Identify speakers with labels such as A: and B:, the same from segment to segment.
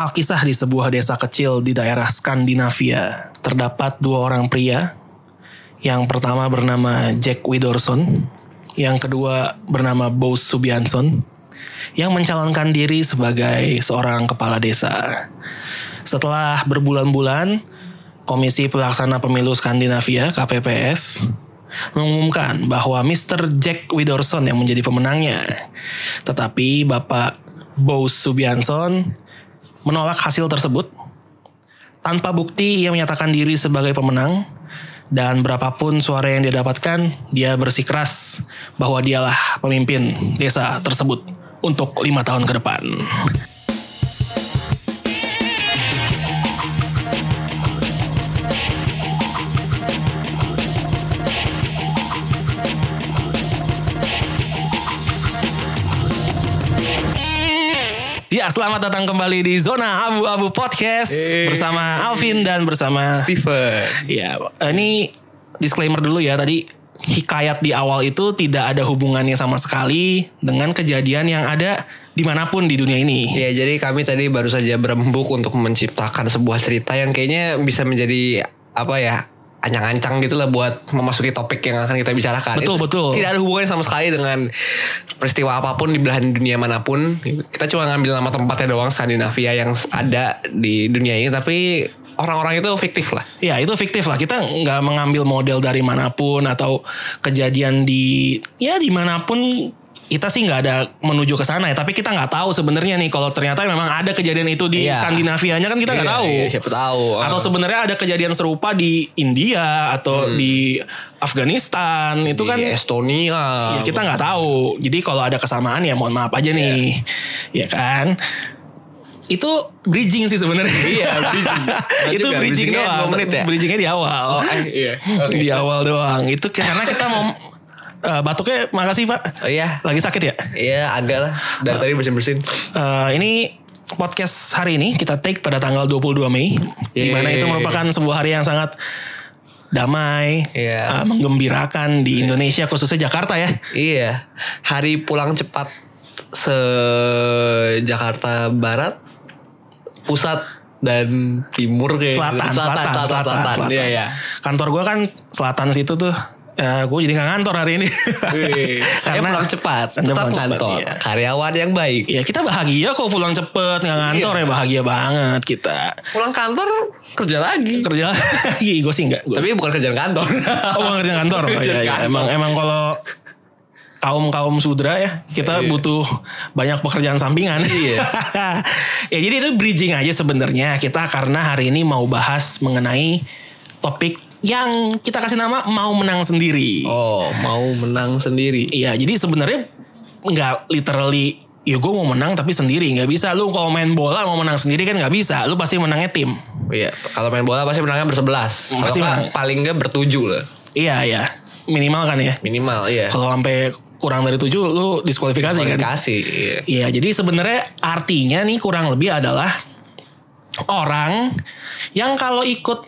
A: Alkisah di sebuah desa kecil di daerah Skandinavia, terdapat dua orang pria. Yang pertama bernama Jack Widorson, yang kedua bernama Bo Subianson, yang mencalonkan diri sebagai seorang kepala desa. Setelah berbulan-bulan, Komisi Pelaksana Pemilu Skandinavia (KPPS) mengumumkan bahwa Mr. Jack Widorson yang menjadi pemenangnya. Tetapi Bapak Bo Subianson menolak hasil tersebut. Tanpa bukti, ia menyatakan diri sebagai pemenang. Dan berapapun suara yang dia dapatkan, dia bersikeras bahwa dialah pemimpin desa tersebut untuk lima tahun ke depan. Ya, selamat datang kembali di Zona Abu-Abu Podcast
B: Yeay.
A: bersama Alvin dan bersama
B: Steven.
A: Ya, ini disclaimer dulu ya. Tadi hikayat di awal itu tidak ada hubungannya sama sekali dengan kejadian yang ada dimanapun di dunia ini.
B: Ya jadi kami tadi baru saja berembuk untuk menciptakan sebuah cerita yang kayaknya bisa menjadi apa ya ancang-ancang gitu lah buat memasuki topik yang akan kita bicarakan.
A: Betul, betul.
B: Tidak ada hubungannya sama sekali dengan peristiwa apapun di belahan dunia manapun. Kita cuma ngambil nama tempatnya doang Skandinavia yang ada di dunia ini tapi orang-orang itu fiktif lah.
A: Ya, itu fiktif lah. Kita nggak mengambil model dari manapun atau kejadian di ya dimanapun kita sih nggak ada menuju ke sana ya. Tapi kita nggak tahu sebenarnya nih kalau ternyata memang ada kejadian itu di
B: Iya.
A: Skandinavianya kan kita nggak
B: Iya,
A: tahu.
B: iya, siapa tahu.
A: Atau sebenarnya ada kejadian serupa di India atau
B: Hmm.
A: di Afghanistan itu kan
B: Di Estonia.
A: Ya kita nggak tahu. Jadi kalau ada kesamaan ya mohon maaf
B: Iya.
A: aja nih. Ya kan? Itu bridging sih sebenarnya.
B: Iya, bridging. Benar
A: itu
B: juga,
A: bridging
B: bridgingnya
A: doang.
B: dua menit ya?
A: Bridgingnya di awal.
B: Oh, eh, iya. Oke.
A: Di awal doang. Itu karena kita mau Eh, batuknya makasih Pak.
B: Oh iya.
A: Lagi sakit ya?
B: Iya agak lah Dari
A: Ah.
B: tadi bersin-bersin
A: Eh, ini podcast hari ini kita take pada tanggal 22 Mei. Di mana
B: Yeay.
A: itu merupakan sebuah hari yang sangat damai, eh,
B: Iya.
A: menggembirakan di Indonesia khususnya Jakarta ya.
B: Iya, hari pulang cepat se Jakarta Barat, pusat dan timur kayak
A: selatan,
B: gitu.
A: selatan,
B: selatan, selatan, selatan. Iya, iya.
A: Kantor gue kan selatan situ tuh. Eh gue jadi gak ngantor hari ini.
B: Wih, Saya
A: Karena-
B: pulang cepat,
A: Anda
B: tetap
A: pulang cepat,
B: kantor,
A: iya.
B: karyawan yang baik.
A: Ya kita bahagia kok pulang cepet nggak ngantor
B: Iya.
A: ya bahagia banget kita
B: Pulang kantor kerja lagi.
A: kerja lagi gue sih nggak gue
B: Tapi bukan kerjaan kantor.
A: oh bukan kerja kantor Oh, iya,
B: Kerjaan
A: iya.
B: kantor.
A: emang emang kalau kaum kaum sudra ya kita butuh banyak pekerjaan sampingan
B: Iya.
A: ya jadi itu bridging aja sebenarnya kita karena hari ini mau bahas mengenai topik yang kita kasih nama mau menang sendiri
B: Oh, mau menang sendiri.
A: Iya, jadi sebenarnya nggak literally ya gue mau menang tapi sendiri nggak bisa. Lu kalau main bola mau menang sendiri kan nggak bisa. Lu pasti menangnya tim.
B: Iya, kalau main bola pasti menangnya bersebelas.
A: Pasti
B: Pasti
A: menang.
B: paling enggak bertujuh lah.
A: Iya ya, minimal kan ya.
B: Minimal, iya.
A: Kalau sampai kurang dari tujuh lu diskualifikasi kan.
B: Kualifikasi, iya.
A: Iya, jadi sebenarnya artinya nih kurang lebih adalah orang yang kalau ikut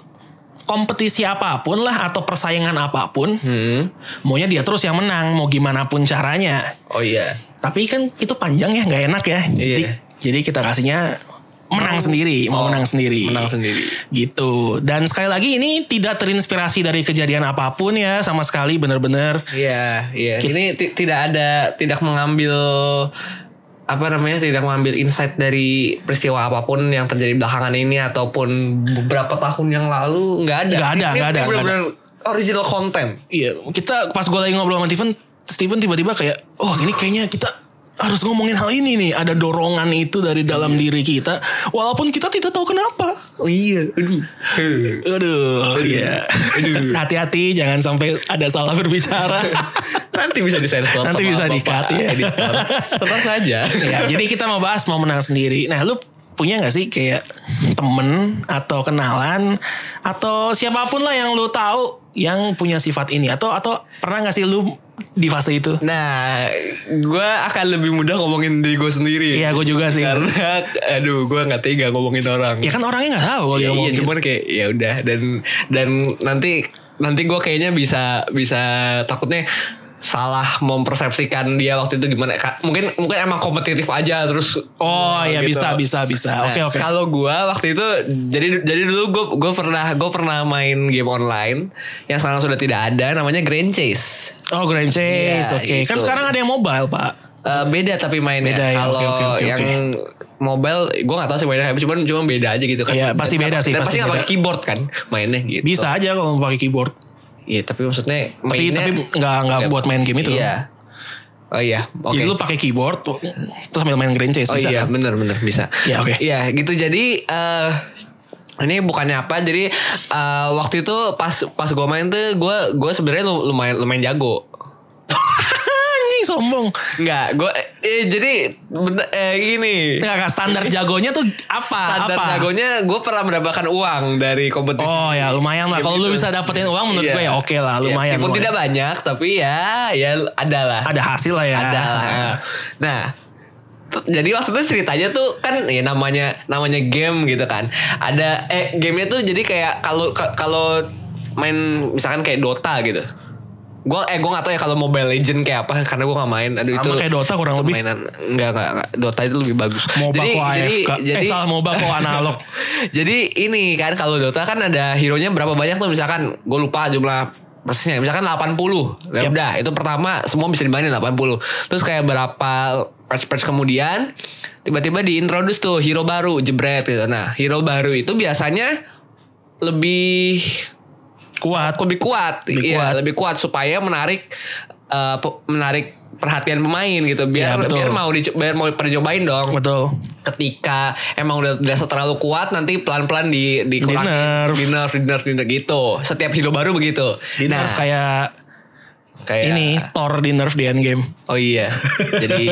A: kompetisi apapun lah atau persaingan apapun,
B: Hmm.
A: maunya dia terus yang menang mau gimana pun caranya.
B: Oh iya.
A: Tapi kan itu panjang ya, nggak enak ya. Jadi,
B: Iya.
A: jadi kita kasihnya menang sendiri, mau
B: Oh,
A: menang sendiri.
B: menang sendiri.
A: Gitu. Dan sekali lagi ini tidak terinspirasi dari kejadian apapun ya, sama sekali bener-bener.
B: Iya, iya. Ini ti- tidak ada tidak mengambil apa namanya tidak mengambil insight dari peristiwa apapun yang terjadi belakangan ini ataupun beberapa tahun yang lalu nggak ada.
A: Nggak ada, nggak
B: Ini
A: ada, nggak
B: benar-benar original content.
A: Iya, kita pas gue lagi ngobrol sama Steven, Steven tiba-tiba kayak, oh ini kayaknya kita harus ngomongin hal ini nih. Ada dorongan itu dari
B: Iya.
A: dalam diri kita, walaupun kita tidak tahu kenapa.
B: Oh iya, aduh.
A: Aduh, iya. Hati-hati jangan sampai ada salah berbicara.
B: Nanti bisa disensor.
A: Nanti
B: sama
A: bisa
B: Bapak
A: di-cut, ya.
B: editor. Tenang saja.
A: ya, jadi kita mau bahas mau menang sendiri. Nah, lu punya nggak sih kayak temen atau kenalan atau siapapun lah yang lu tahu yang punya sifat ini atau atau pernah nggak sih lu di fase itu?
B: Nah, gue akan lebih mudah ngomongin diri gue sendiri.
A: Iya, gue juga sih.
B: Karena, aduh, gue nggak tega ngomongin orang.
A: Ya kan orangnya nggak tahu kalau
B: Iya,
A: dia
B: iya
A: ngomong gitu.
B: cuman kayak ya udah dan dan nanti nanti gue kayaknya bisa bisa takutnya salah mempersepsikan dia waktu itu gimana Ka- mungkin mungkin emang kompetitif aja terus
A: Oh ya
B: eh, gitu.
A: bisa bisa bisa. Ah, Oke
B: Nah,
A: oke.
B: Kalau gua waktu itu jadi jadi dulu gua gua pernah gua pernah main game online yang sekarang sudah tidak ada namanya Grand Chase.
A: Oh Grand Chase.
B: Iya,
A: oke. Kan
B: gitu.
A: sekarang ada yang mobile pak.
B: Eh, beda tapi mainnya
A: Beda ya,
B: kalau
A: oke, oke, oke,
B: yang
A: oke.
B: mobile gua nggak tahu sih mainnya apa cuman cuma beda aja gitu kan.
A: Iya, pasti
B: Dan-
A: beda sih,
B: dan
A: pasti
B: pasti nggak
A: beda.
B: pakai keyboard kan mainnya gitu.
A: Bisa aja kalau pakai keyboard.
B: Iya tapi maksudnya
A: Tapi
B: mainnya
A: tapi nggak nggak buat main game itu.
B: Iya. Oh iya, oke.
A: Jadi lu pakai keyboard terus sambil main Grand Chase
B: Oh
A: bisa.
B: iya,
A: kan?
B: bener-bener bisa.
A: Iya, oke.
B: Iya, gitu. Jadi eh ini bukannya apa? Jadi eh, waktu itu pas pas gue main tuh gue gue sebenarnya lu- lumayan lumayan jago.
A: Anjing sombong.
B: Enggak, gue eh, jadi bener- eh, gini.
A: Nggak nggak, standar jagonya tuh apa?
B: Standar
A: apa?
B: jagonya gue pernah mendapatkan uang dari kompetisi.
A: Oh ya lumayan lah.
B: Game
A: Kalau lu
B: itu.
A: bisa dapetin uang menurut
B: Iya.
A: gue ya oke lah
B: Iya,
A: lumayan.
B: Meskipun
A: lumayan.
B: tidak banyak, tapi ya ya adalah.
A: ada hasil lah ya.
B: ada lah. Nah, t- jadi waktu itu ceritanya tuh kan ya namanya namanya game gitu kan. Ada eh gamenya tuh jadi kayak kalau ka- kalau main misalkan kayak Dota gitu. Gua eh gua gak tau ya kalau Mobile Legend kayak apa karena gua gak main. Aduh
A: Sama
B: itu
A: kayak Dota kurang lebih.
B: mainan enggak enggak enggak. Dota itu lebih bagus.
A: MOBA kok AFK. Eh, salah, MOBA kok analog.
B: jadi ini kan kalau Dota kan ada hero-nya berapa banyak tuh misalkan gue lupa jumlah persisnya misalkan 80. Ya
A: Yap.
B: udah itu pertama semua bisa dimainin 80. Terus kayak berapa patch-patch kemudian tiba-tiba diintroduce tuh hero baru jebret gitu. Nah, hero baru itu biasanya lebih
A: Kuat.
B: lebih kuat,
A: Lebih
B: Iya,
A: kuat.
B: lebih kuat supaya menarik eh, pe- menarik perhatian pemain gitu
A: Iya,
B: biar
A: betul.
B: biar mau dico- biar mau percobain dong
A: Betul.
B: ketika emang udah udah terlalu kuat nanti pelan-pelan di di
A: Di-nerf.
B: dinner dinner dinner gitu setiap hero baru begitu
A: Di nerf
B: Nah.
A: kayak
B: kayak
A: ini Thor di nerf di endgame.
B: Oh iya. Jadi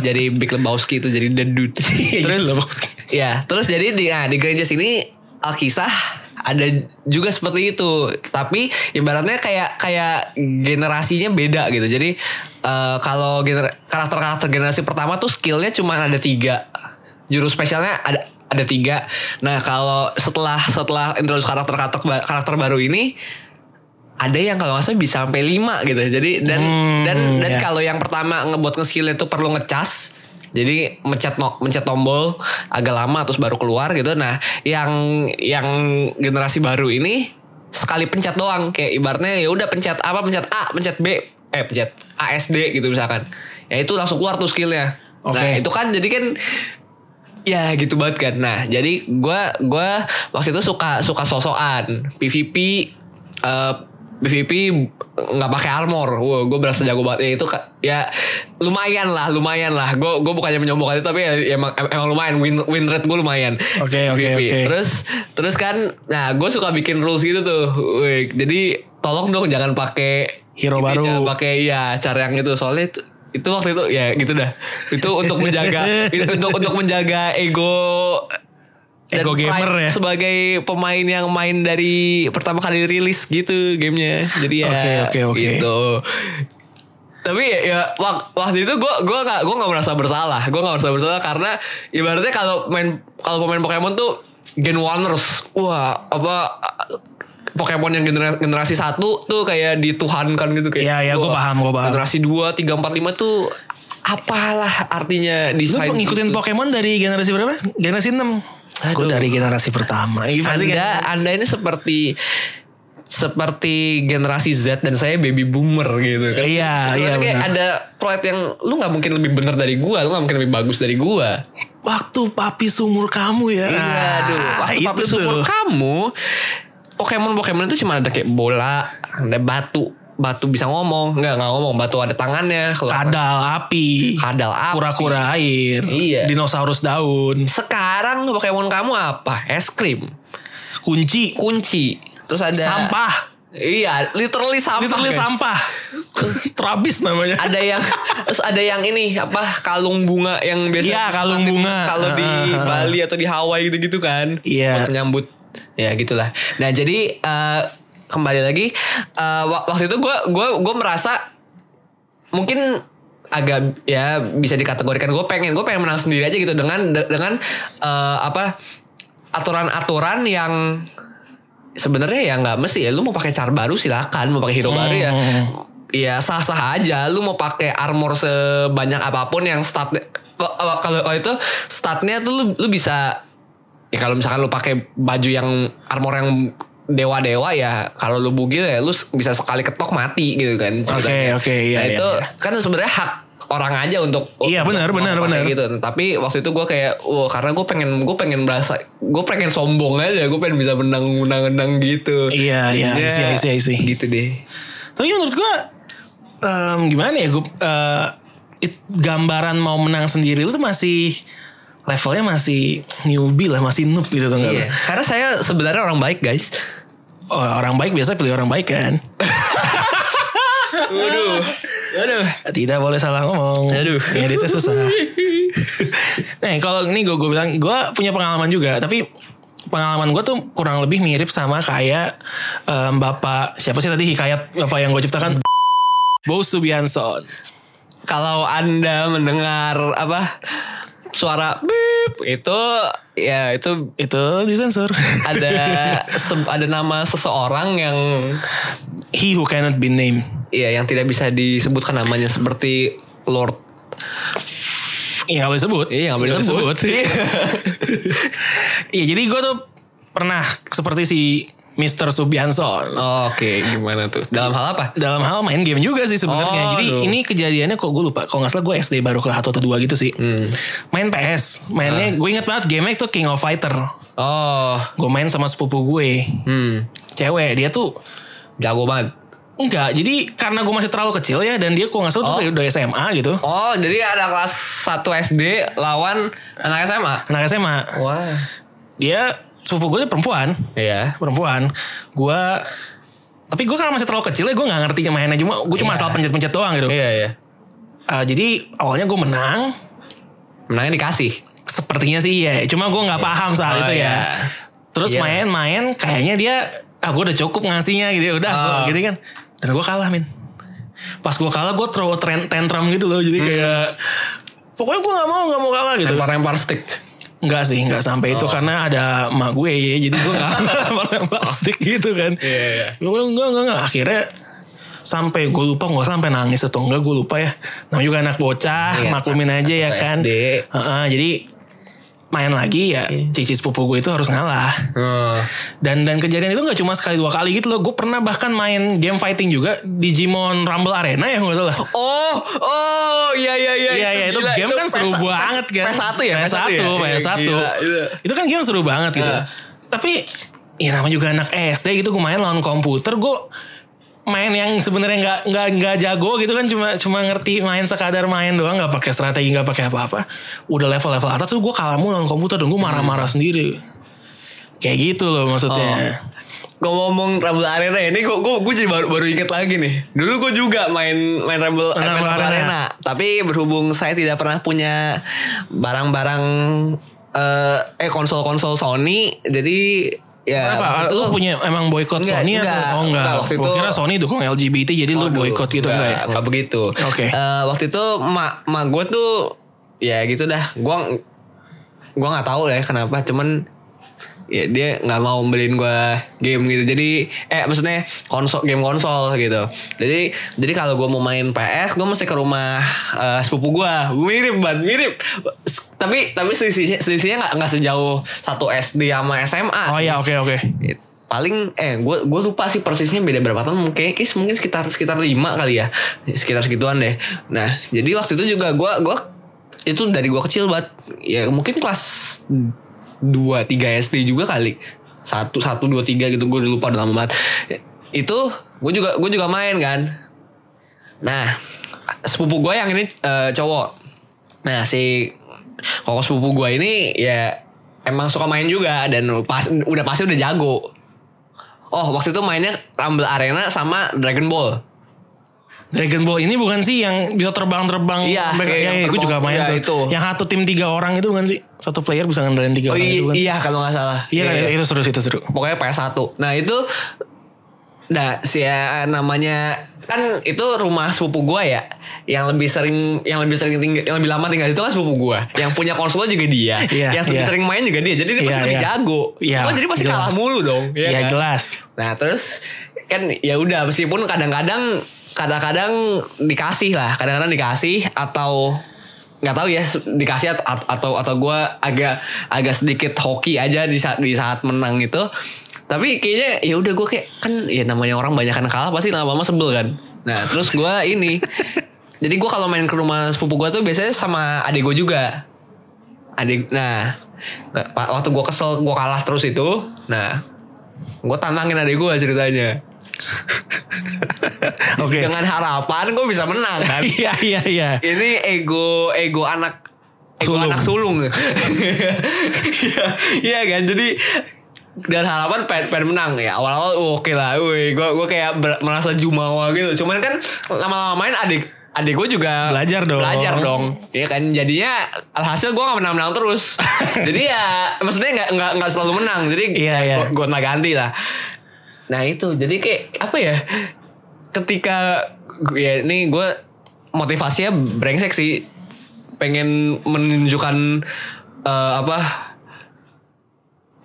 B: jadi Big Lebowski itu jadi the dude. terus
A: Big Lebowski.
B: Ya, terus jadi di nah, di gereja sini Alkisah ada juga seperti itu. Tapi ibaratnya kayak kayak generasinya beda gitu. Jadi eh, kalau gener- karakter-karakter generasi pertama tuh skillnya cuma ada tiga. Jurus spesialnya ada ada tiga. Nah kalau setelah setelah introduce karakter karakter karakter baru ini ada yang kalau nggak salah bisa sampai 5 gitu. Jadi dan dan dan
A: ya.
B: kalau yang pertama ngebuat nge-skillnya itu perlu ngecas. Jadi mencet no- mencet tombol agak lama terus baru keluar gitu. Nah, yang yang generasi baru ini sekali pencet doang kayak ibaratnya ya udah pencet apa pencet A, pencet B, eh pencet ASD gitu misalkan. Ya itu langsung keluar tuh skillnya. Nah,
A: Oke.
B: itu kan jadi kan Ya gitu banget kan. Nah jadi gua gua waktu itu suka suka sosokan PVP eh, PVP nggak pakai armor. Wah gue berasa jago banget ya itu ka- ya lumayan lah lumayan lah. Gue gue bukannya menyombongkan itu tapi ya, ya emang em- emang lumayan win win rate gue lumayan.
A: Oke, oke,
B: PVP.
A: oke.
B: Terus terus kan nah gue suka bikin rules gitu tuh. Wih, jadi tolong dong jangan pakai
A: Hero
B: itu,
A: baru.
B: Jangan Gitu, pakai ya cara yang itu soalnya itu, itu waktu itu ya gitu dah. Itu untuk menjaga itu untuk untuk menjaga ego dan
A: Ego
B: pride
A: gamer ya.
B: sebagai pemain yang main dari pertama kali rilis gitu gamenya. Jadi ya
A: Oke, oke, oke.
B: gitu. Tapi ya, ya wak- waktu itu gue gua nggak gua nggak merasa bersalah. Gue nggak merasa bersalah karena ibaratnya kalau main kalau pemain Pokemon tuh Gen Warners, wah apa Pokemon yang genera- generasi satu tuh kayak dituhankan gitu kayak.
A: Iya, iya, gua
B: wah,
A: paham, gua paham.
B: Generasi 2, 3, 4, 5 tuh apalah artinya
A: Lu
B: desain
A: ngikutin
B: gitu.
A: Pokemon dari generasi berapa? Generasi 6. Gue
B: Aduh.
A: dari generasi pertama. Ih, pasti kan?
B: Anda,
A: kayak-
B: Anda ini seperti seperti generasi Z dan saya baby boomer gitu kan.
A: Iya,
B: Sebenarnya
A: iya,
B: kayak
A: benar.
B: ada pride yang lu nggak mungkin lebih bener dari gua, lu nggak mungkin lebih bagus dari gua.
A: waktu papi sumur kamu ya.
B: Iya,
A: Nah,
B: aduh. Waktu papi
A: itu tuh.
B: seumur kamu, Pokemon Pokemon itu cuma ada kayak bola, ada batu, batu bisa ngomong, nggak nggak ngomong, batu ada tangannya, kalau
A: Kadal api.
B: Kadal api.
A: Kura-kura air.
B: Iya.
A: Dinosaurus daun.
B: Sekarang Pokemon kamu apa? Es krim,
A: Kunci.
B: kunci, terus ada
A: Sampah.
B: Iya, literally sampah.
A: Literally
B: guys.
A: sampah. Trabis namanya.
B: ada yang terus ada yang ini apa kalung bunga yang biasa
A: Iya, kalung bunga.
B: kalau di
A: Ah, ah, ah.
B: Bali atau di Hawaii gitu-gitu kan
A: Iya.
B: buat menyambut ya gitulah nah jadi eh, kembali lagi eh, wa- waktu itu gue gua gua merasa mungkin agak ya bisa dikategorikan gue pengen gue pengen menang sendiri aja gitu dengan de- dengan eh, apa aturan-aturan
A: Hmm.
B: yang sebenarnya ya nggak mesti ya lu mau pakai car baru silakan mau pakai hero baru ya ya sah-sah aja lu mau pakai armor sebanyak apapun yang stat ko- kalau kalau itu statnya tuh lu, lu bisa ya kalau misalkan lu pakai baju yang armor yang dewa-dewa ya kalau lu bugil ya lu s- bisa sekali ketok mati gitu kan ceritanya.
A: oke, iya,
B: nah
A: iya,
B: itu
A: iya.
B: kan sebenarnya hak orang aja untuk
A: Iya,
B: untuk
A: benar,
B: mau
A: benar,
B: pakai
A: benar.
B: gitu tapi waktu itu gue kayak wah karena gue pengen gue pengen berasa gue pengen sombong aja gue pengen bisa menang menang menang gitu
A: Iya, iya, I see,
B: Jadinya
A: I see, I see.
B: gitu deh
A: Tapi menurut gue em, gimana ya gue gambaran mau menang sendiri itu masih levelnya masih newbie lah, masih noob gitu tuh nggak
B: Iya,
A: lo?
B: karena saya sebenarnya orang baik guys.
A: Oh, orang baik biasa pilih orang baik kan?
B: Waduh, waduh.
A: Tidak boleh salah ngomong.
B: Aduh.
A: Ngeditnya Iya, susah. nah, kalau ini gue bilang, gue punya pengalaman juga, tapi pengalaman gue tuh kurang lebih mirip sama kayak em, bapak siapa sih tadi hikayat bapak yang gue ciptakan. Bo Subianson.
B: Kalau anda mendengar apa suara bip itu ya itu
A: Itu disensor.
B: ada se- ada nama seseorang yang
A: He who cannot be named.
B: ya yang tidak bisa disebutkan namanya seperti Lord.
A: Iya gak boleh sebut.
B: Iya, nggak boleh sebut.
A: Iya. Iya, jadi gue tuh pernah seperti si Mr. Subianson.
B: Oh, Oke, gimana tuh? Dalam hal apa?
A: dalam hal main game juga sih sebenarnya.
B: Oh,
A: Jadi
B: aduh.
A: ini kejadiannya kok gue lupa. Kalau nggak salah gue SD baru kelas satu atau dua gitu sih.
B: Hmm.
A: Main PS,
B: Ah.
A: mainnya gue inget banget gamenya itu King of Fighter.
B: Oh,
A: Gue main sama sepupu gue,
B: hmm,
A: cewek. Dia tuh
B: jago banget.
A: enggak. Jadi karena gue masih terlalu kecil ya dan dia kok nggak salah tuh kayak udah SMA gitu.
B: Oh, jadi ada kelas 1 SD lawan anak SMA.
A: Anak SMA.
B: Wah.
A: Dia sepupu gue tuh perempuan,
B: Iya.
A: perempuan. Gue tapi gue karena masih terlalu kecil ya gue nggak ngerti mainnya cuma gue cuma asal
B: Iya.
A: pencet-pencet doang gitu.
B: Iya, iya.
A: Eh, jadi awalnya gue menang,
B: Menangnya dikasih.
A: Sepertinya sih iya. Cuma gue nggak paham soal
B: Oh,
A: itu
B: iya.
A: ya. Terus
B: Iya.
A: main-main, kayaknya dia, ah gue udah cukup ngasihnya gitu ya. Udah, gua
B: Ah.
A: gitu kan. Dan gue kalah min. Pas gue kalah, gue throw tren- tantrum gitu loh.
B: Hmm.
A: Jadi kayak, pokoknya gue nggak mau, nggak mau kalah gitu.
B: Lempar-lempar stick.
A: Enggak sih,
B: Oh.
A: enggak sampai itu karena ada emak gue ya. Jadi gue gak lempar-lempar stick gitu kan.
B: Iya, iya.
A: Gue enggak, enggak, enggak. Akhirnya sampai gue lupa nggak sampai nangis atau enggak gue lupa ya namanya juga anak bocah
B: Iya,
A: maklumin aja ya
B: anak
A: kan
B: SD.
A: Heeh, jadi main lagi ya cici sepupu gue itu harus ngalah
B: Oh.
A: dan dan kejadian itu nggak cuma sekali dua kali gitu loh gue pernah bahkan main game fighting juga Digimon Rumble Arena ya nggak salah
B: Oh, oh, iya iya iya.
A: Iya iya itu
B: gila,
A: game kan seru
B: PS-
A: banget kan.
B: PS1 ya,
A: PS1,
B: Iya,
A: PS1.
B: gila, iya.
A: Itu kan game seru banget gitu.
B: Ah.
A: Tapi ya namanya juga anak SD gitu gue main lawan komputer gue main yang sebenarnya nggak nggak nggak jago gitu kan cuma cuma ngerti main sekadar main doang nggak pakai strategi nggak pakai apa-apa udah level-level atas tuh gue kalah mulu lawan komputer dan gue
B: Hmm.
A: marah-marah sendiri kayak gitu loh maksudnya
B: Ngomong Rumble Arena ya, ini gue gue gue jadi baru baru inget lagi nih. Dulu gue juga main main Rumble,
A: Main
B: main
A: Rumble
B: Rumble
A: Arena. ya?
B: Arena. Tapi berhubung saya tidak pernah punya barang-barang eh, eh konsol-konsol Sony, jadi ya waktu
A: Apa,
B: itu-
A: lu punya emang boykot
B: Enggak,
A: Sony
B: enggak.
A: atau oh enggak?
B: Enggak, waktu
A: Gua
B: itu-
A: kira Sony dukung LGBT jadi lu
B: Waduh,
A: boykot gitu enggak, ya?
B: Enggak begitu.
A: Oke.
B: Eh, waktu itu mak mak gue tuh ya gitu dah. Gua gua nggak tahu ya kenapa cuman ya dia nggak mau beliin gue game gitu jadi eh maksudnya konsol game konsol gitu jadi jadi kalau gue mau main PS gue mesti ke rumah eh, sepupu gue mirip banget mirip S- tapi tapi selisihnya selisihnya nggak nggak sejauh satu SD sama SMA
A: Oh ya oke oke.
B: paling eh gue gue lupa sih persisnya beda berapa tahun mungkin kis- mungkin sekitar sekitar lima kali ya sekitar segituan deh nah jadi waktu itu juga gue gua itu dari gue kecil banget ya mungkin kelas 2 3 SD juga kali satu satu dua tiga gitu gue udah lupa udah lama banget itu gue juga gue juga main kan Nah, sepupu gue yang ini eh, cowok. Nah, si kokos sepupu gue ini ya emang suka main juga dan pas, udah pasti udah jago. Oh, waktu itu mainnya Rumble Arena sama Dragon Ball.
A: Dragon Ball ini bukan sih yang bisa terbang-terbang?
B: Iya,
A: sampai-
B: iya,
A: iya,
B: yang
A: iya, gue
B: terbang.
A: juga main
B: Iya,
A: tuh.
B: itu.
A: Yang satu tim tiga orang itu bukan sih? Satu player bisa ngandelin tiga
B: Oh
A: orang
B: i-
A: itu bukan? sih?
B: iya kalau nggak salah.
A: Iya kan itu seru sih, itu seru.
B: Pokoknya PS1. Nah, itu nah si eh, namanya kan itu rumah sepupu gua ya yang lebih sering yang lebih sering tinggal yang lebih lama tinggal itu kan sepupu gua yang punya konsolnya juga dia
A: Iya,
B: yang lebih
A: iya.
B: sering main juga dia jadi dia pasti
A: Iya,
B: lebih
A: iya.
B: jago
A: Iya,
B: Cuma jadi pasti kalah
A: jelas.
B: mulu dong
A: Iya
B: kan?
A: jelas.
B: nah terus kan ya udah meskipun kadang-kadang kadang-kadang dikasih lah kadang-kadang dikasih atau nggak tahu ya se- dikasih at- at- atau atau gue agak agak sedikit hoki aja di saat di saat menang itu tapi kayaknya ya udah gue kayak kan ya namanya orang banyak kan kalah pasti lama-lama sebel kan nah terus gue ini jadi gue kalau main ke rumah sepupu gue tuh biasanya sama adik gue juga adik nah ke- pa- waktu gue kesel gue kalah terus itu nah gue tantangin adik gue ceritanya
A: Oke.
B: dengan harapan gue bisa menang kan
A: Iya iya iya.
B: ini ego ego anak ego
A: Sulung.
B: anak sulung Iya, iya kan jadi dan harapan pengen, pengen menang ya awal-awal oh, oke lah woi gue gue kayak ber- merasa jumawa gitu cuman kan lama-lama main adik adik gue juga
A: Belajar dong.
B: belajar dong ya kan jadinya alhasil gue gak menang menang terus jadi ya maksudnya nggak nggak nggak selalu menang jadi
A: Iya, iya.
B: gue ganti lah nah itu jadi kayak apa ya ketika ya ini gue motivasinya brengsek sih pengen menunjukkan eh, apa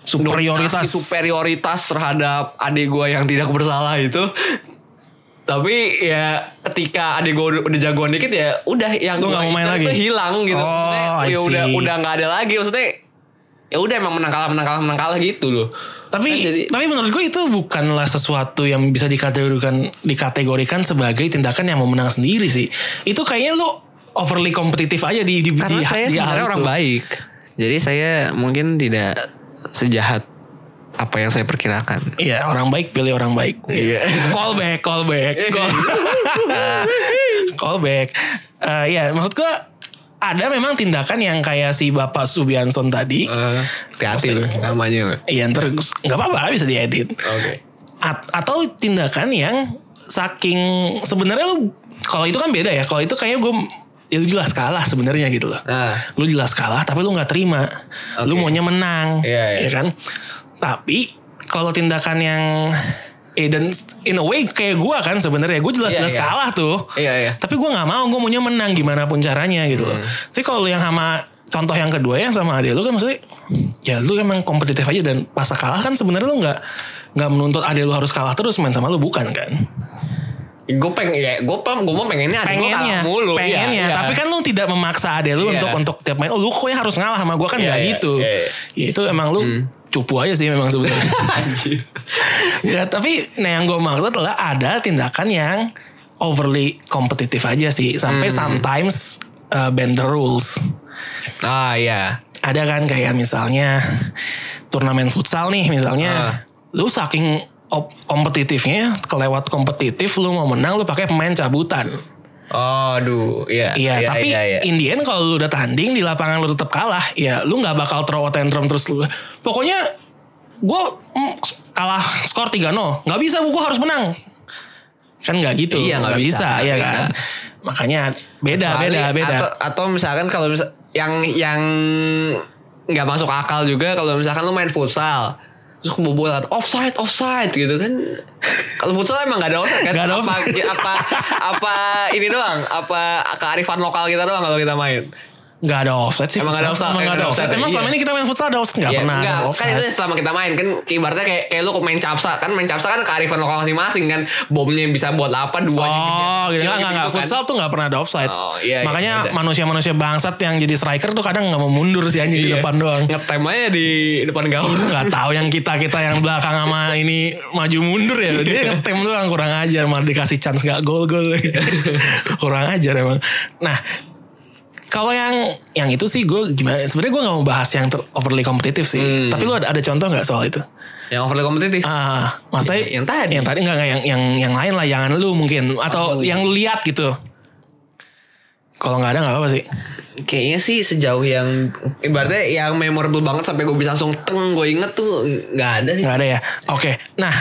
A: Superioritas.
B: dominasi, superioritas terhadap adik gue yang tidak bersalah itu tapi ya ketika adik gue udah, udah jagoan dikit ya udah yang
A: Lu
B: gue
A: nggak mau main lagi?
B: hilang gitu
A: Oh,
B: maksudnya
A: I
B: ya udah
A: see.
B: udah nggak ada lagi maksudnya ya udah emang menang kalah menang kalah menang kalah gitu loh
A: Tapi
B: Kan jadi-
A: tapi menurut gue itu bukanlah sesuatu yang bisa dikategorikan dikategorikan sebagai tindakan yang mau menang sendiri sih. Itu kayaknya lu overly kompetitif aja di di
B: Karena
A: di,
B: saya
A: di hal
B: sebenarnya
A: Iya, itu.
B: orang baik. Jadi saya mungkin tidak sejahat apa yang saya perkirakan.
A: Iya, orang baik pilih orang baik.
B: Iya.
A: call back, call back. Call, call back. Eh, ya, maksud gue ada memang tindakan yang kayak si Bapak Subianson tadi.
B: Eh, Hati-hati loh namanya loh.
A: Iya, ntar nggak apa-apa bisa diedit.
B: Oke.
A: At- atau tindakan yang saking sebenarnya lu kalau itu kan beda ya. Kalau itu kayaknya gue ya lu jelas kalah sebenarnya gitu loh.
B: Nah.
A: Lu jelas kalah tapi lu nggak terima. Lu
B: Oke.
A: maunya menang,
B: Iya, iya.
A: ya kan? Tapi kalau tindakan yang eh dan in a way kayak gue kan sebenarnya gue jelas-jelas
B: Iya, iya.
A: kalah tuh.
B: Iya iya. Hmm.
A: Tapi gue nggak mau, gue maunya menang gimana pun caranya gitu loh. Tapi kalau yang sama contoh yang kedua yang sama adek lu kan maksudnya ya lu emang kompetitif aja dan pas kalah kan sebenarnya lu nggak nggak menuntut adek lu harus kalah terus main sama lu bukan kan?
B: Gue pengen ya, gue pem, gue mau pengennya adik gua
A: Pengennya,
B: kalah mulu. Iya,
A: pengennya.
B: iya.
A: Tapi kan lu tidak memaksa adek lu
B: Iya.
A: untuk untuk tiap main. Oh lu kok harus ngalah sama gue kan
B: Iya,
A: nggak
B: iya,
A: gitu.
B: iya, iya.
A: Ya, itu emang lu cupu aja sih memang sebenarnya.
B: Anjir.
A: ya tapi nah yang gue maksud adalah ada tindakan yang overly kompetitif aja sih sampai
B: Hmm.
A: sometimes uh, bend the rules
B: Ah iya.
A: ada kan kayak misalnya turnamen futsal nih misalnya
B: Ah.
A: lu saking op- kompetitifnya kelewat kompetitif lu mau menang lu pakai pemain cabutan
B: Oh, aduh, iya.
A: Iya, tapi
B: iya, iya.
A: in the end kalau lu udah tanding di lapangan lu tetap kalah, ya lu nggak bakal throw a tantrum terus lu. Pokoknya gue kalah skor 3-0, nggak bisa gue harus menang. Kan nggak gitu,
B: Iya, nggak bisa, nggak
A: ya
B: bisa.
A: kan. Makanya beda,
B: Kecuali-
A: beda, beda.
B: Atau, atau misalkan kalau misa- yang yang nggak masuk akal juga kalau misalkan lu main futsal terus kebobolan offside offside gitu kan kalau futsal emang nggak ada offside kan
A: Nggak ada
B: apa,
A: offside.
B: apa apa ini doang apa kearifan lokal kita doang kalau kita main
A: Nggak ada offset sih.
B: Emang nggak ada
A: futsal.
B: offside,
A: Emang nggak ada offset. Emang
B: iya.
A: selama ini kita main futsal ada offset nggak
B: Ya,
A: pernah
B: enggak,
A: ada
B: kan itu
A: offset.
B: selama kita main kan ibaratnya kayak kayak lu main capsa kan main capsa kan kearifan lokal masing-masing kan bomnya bisa buat apa duanya
A: Oh,
B: gede,
A: gitu
B: kecil
A: nggak nggak nggak
B: kan.
A: futsal tuh nggak pernah ada offside.
B: Oh, iya, iya,
A: Makanya
B: iya.
A: manusia-manusia bangsat yang jadi striker tuh kadang nggak mau mundur sih anjing di
B: Iya.
A: depan doang.
B: ngetem aja di depan gawang
A: nggak tahu yang kita kita yang belakang sama ini maju mundur ya
B: Iya.
A: dia ngetem doang kurang ajar malah dikasih chance nggak gol gol kurang ajar emang nah kalau yang yang itu sih gue gimana sebenarnya gue nggak mau bahas yang ter- overly kompetitif sih
B: Hmm.
A: tapi lu ada, ada contoh nggak soal itu
B: yang overly kompetitif
A: ah maksudnya
B: Ya, yang tadi.
A: yang tadi nggak nggak, yang yang yang lain lah jangan lu mungkin atau yang lu lihat gitu kalau nggak ada nggak apa-apa sih
B: Kayaknya sih sejauh yang ibaratnya yang memorable banget sampai gue bisa langsung teng gue inget tuh nggak ada sih.
A: nggak ada ya oke nah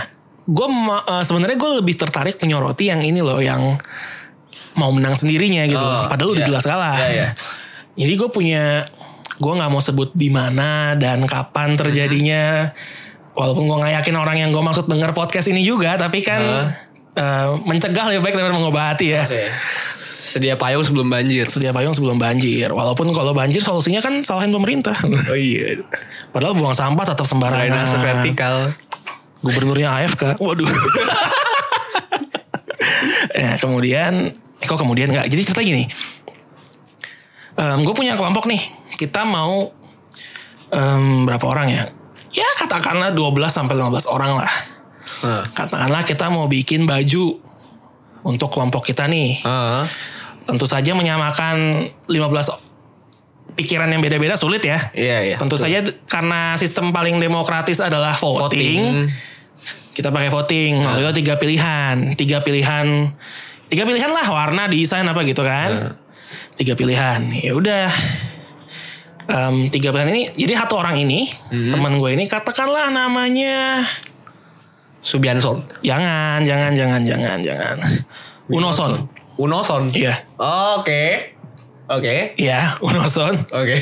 A: gue ma- eh, sebenarnya gue lebih tertarik menyoroti yang ini loh yang mau menang sendirinya gitu
B: Oh,
A: padahal udah
B: iya.
A: jelas kalah
B: Iya, iya.
A: jadi gue punya gue nggak mau sebut di mana dan
B: Mhm.
A: kapan terjadinya walaupun gue nggak yakin orang yang gue maksud denger podcast ini juga tapi kan eh, mencegah lebih baik daripada mengobati ya
B: Oke. Sedia payung sebelum banjir.
A: sedia payung sebelum banjir walaupun kalau banjir solusinya kan salahin pemerintah
B: Oh iya.
A: padahal buang sampah tetap sembarangan
B: Drainase vertikal.
A: gubernurnya AFK. Waduh. Ya, kemudian, eh kok kemudian nggak? Jadi cerita gini, gue punya kelompok nih, kita mau em, berapa orang ya? Ya katakanlah 12 sampai 15 orang lah.
B: Heeh.
A: Katakanlah kita mau bikin baju untuk kelompok kita nih.
B: Heeh.
A: Tentu saja menyamakan 15 pikiran yang beda-beda sulit ya.
B: Iya iya.
A: Tentu saja d- karena sistem paling demokratis adalah voting. Kita pakai voting. Waktu itu tiga pilihan, tiga pilihan, tiga pilihan lah warna, desain apa gitu kan. Tiga pilihan. Ya udah. Em, tiga pilihan ini jadi satu orang ini teman gue ini katakanlah namanya
B: Subianson.
A: jangan jangan jangan jangan jangan Unoson
B: Unoson.
A: iya
B: Oke. Oke.
A: iya Unoson
B: Oke.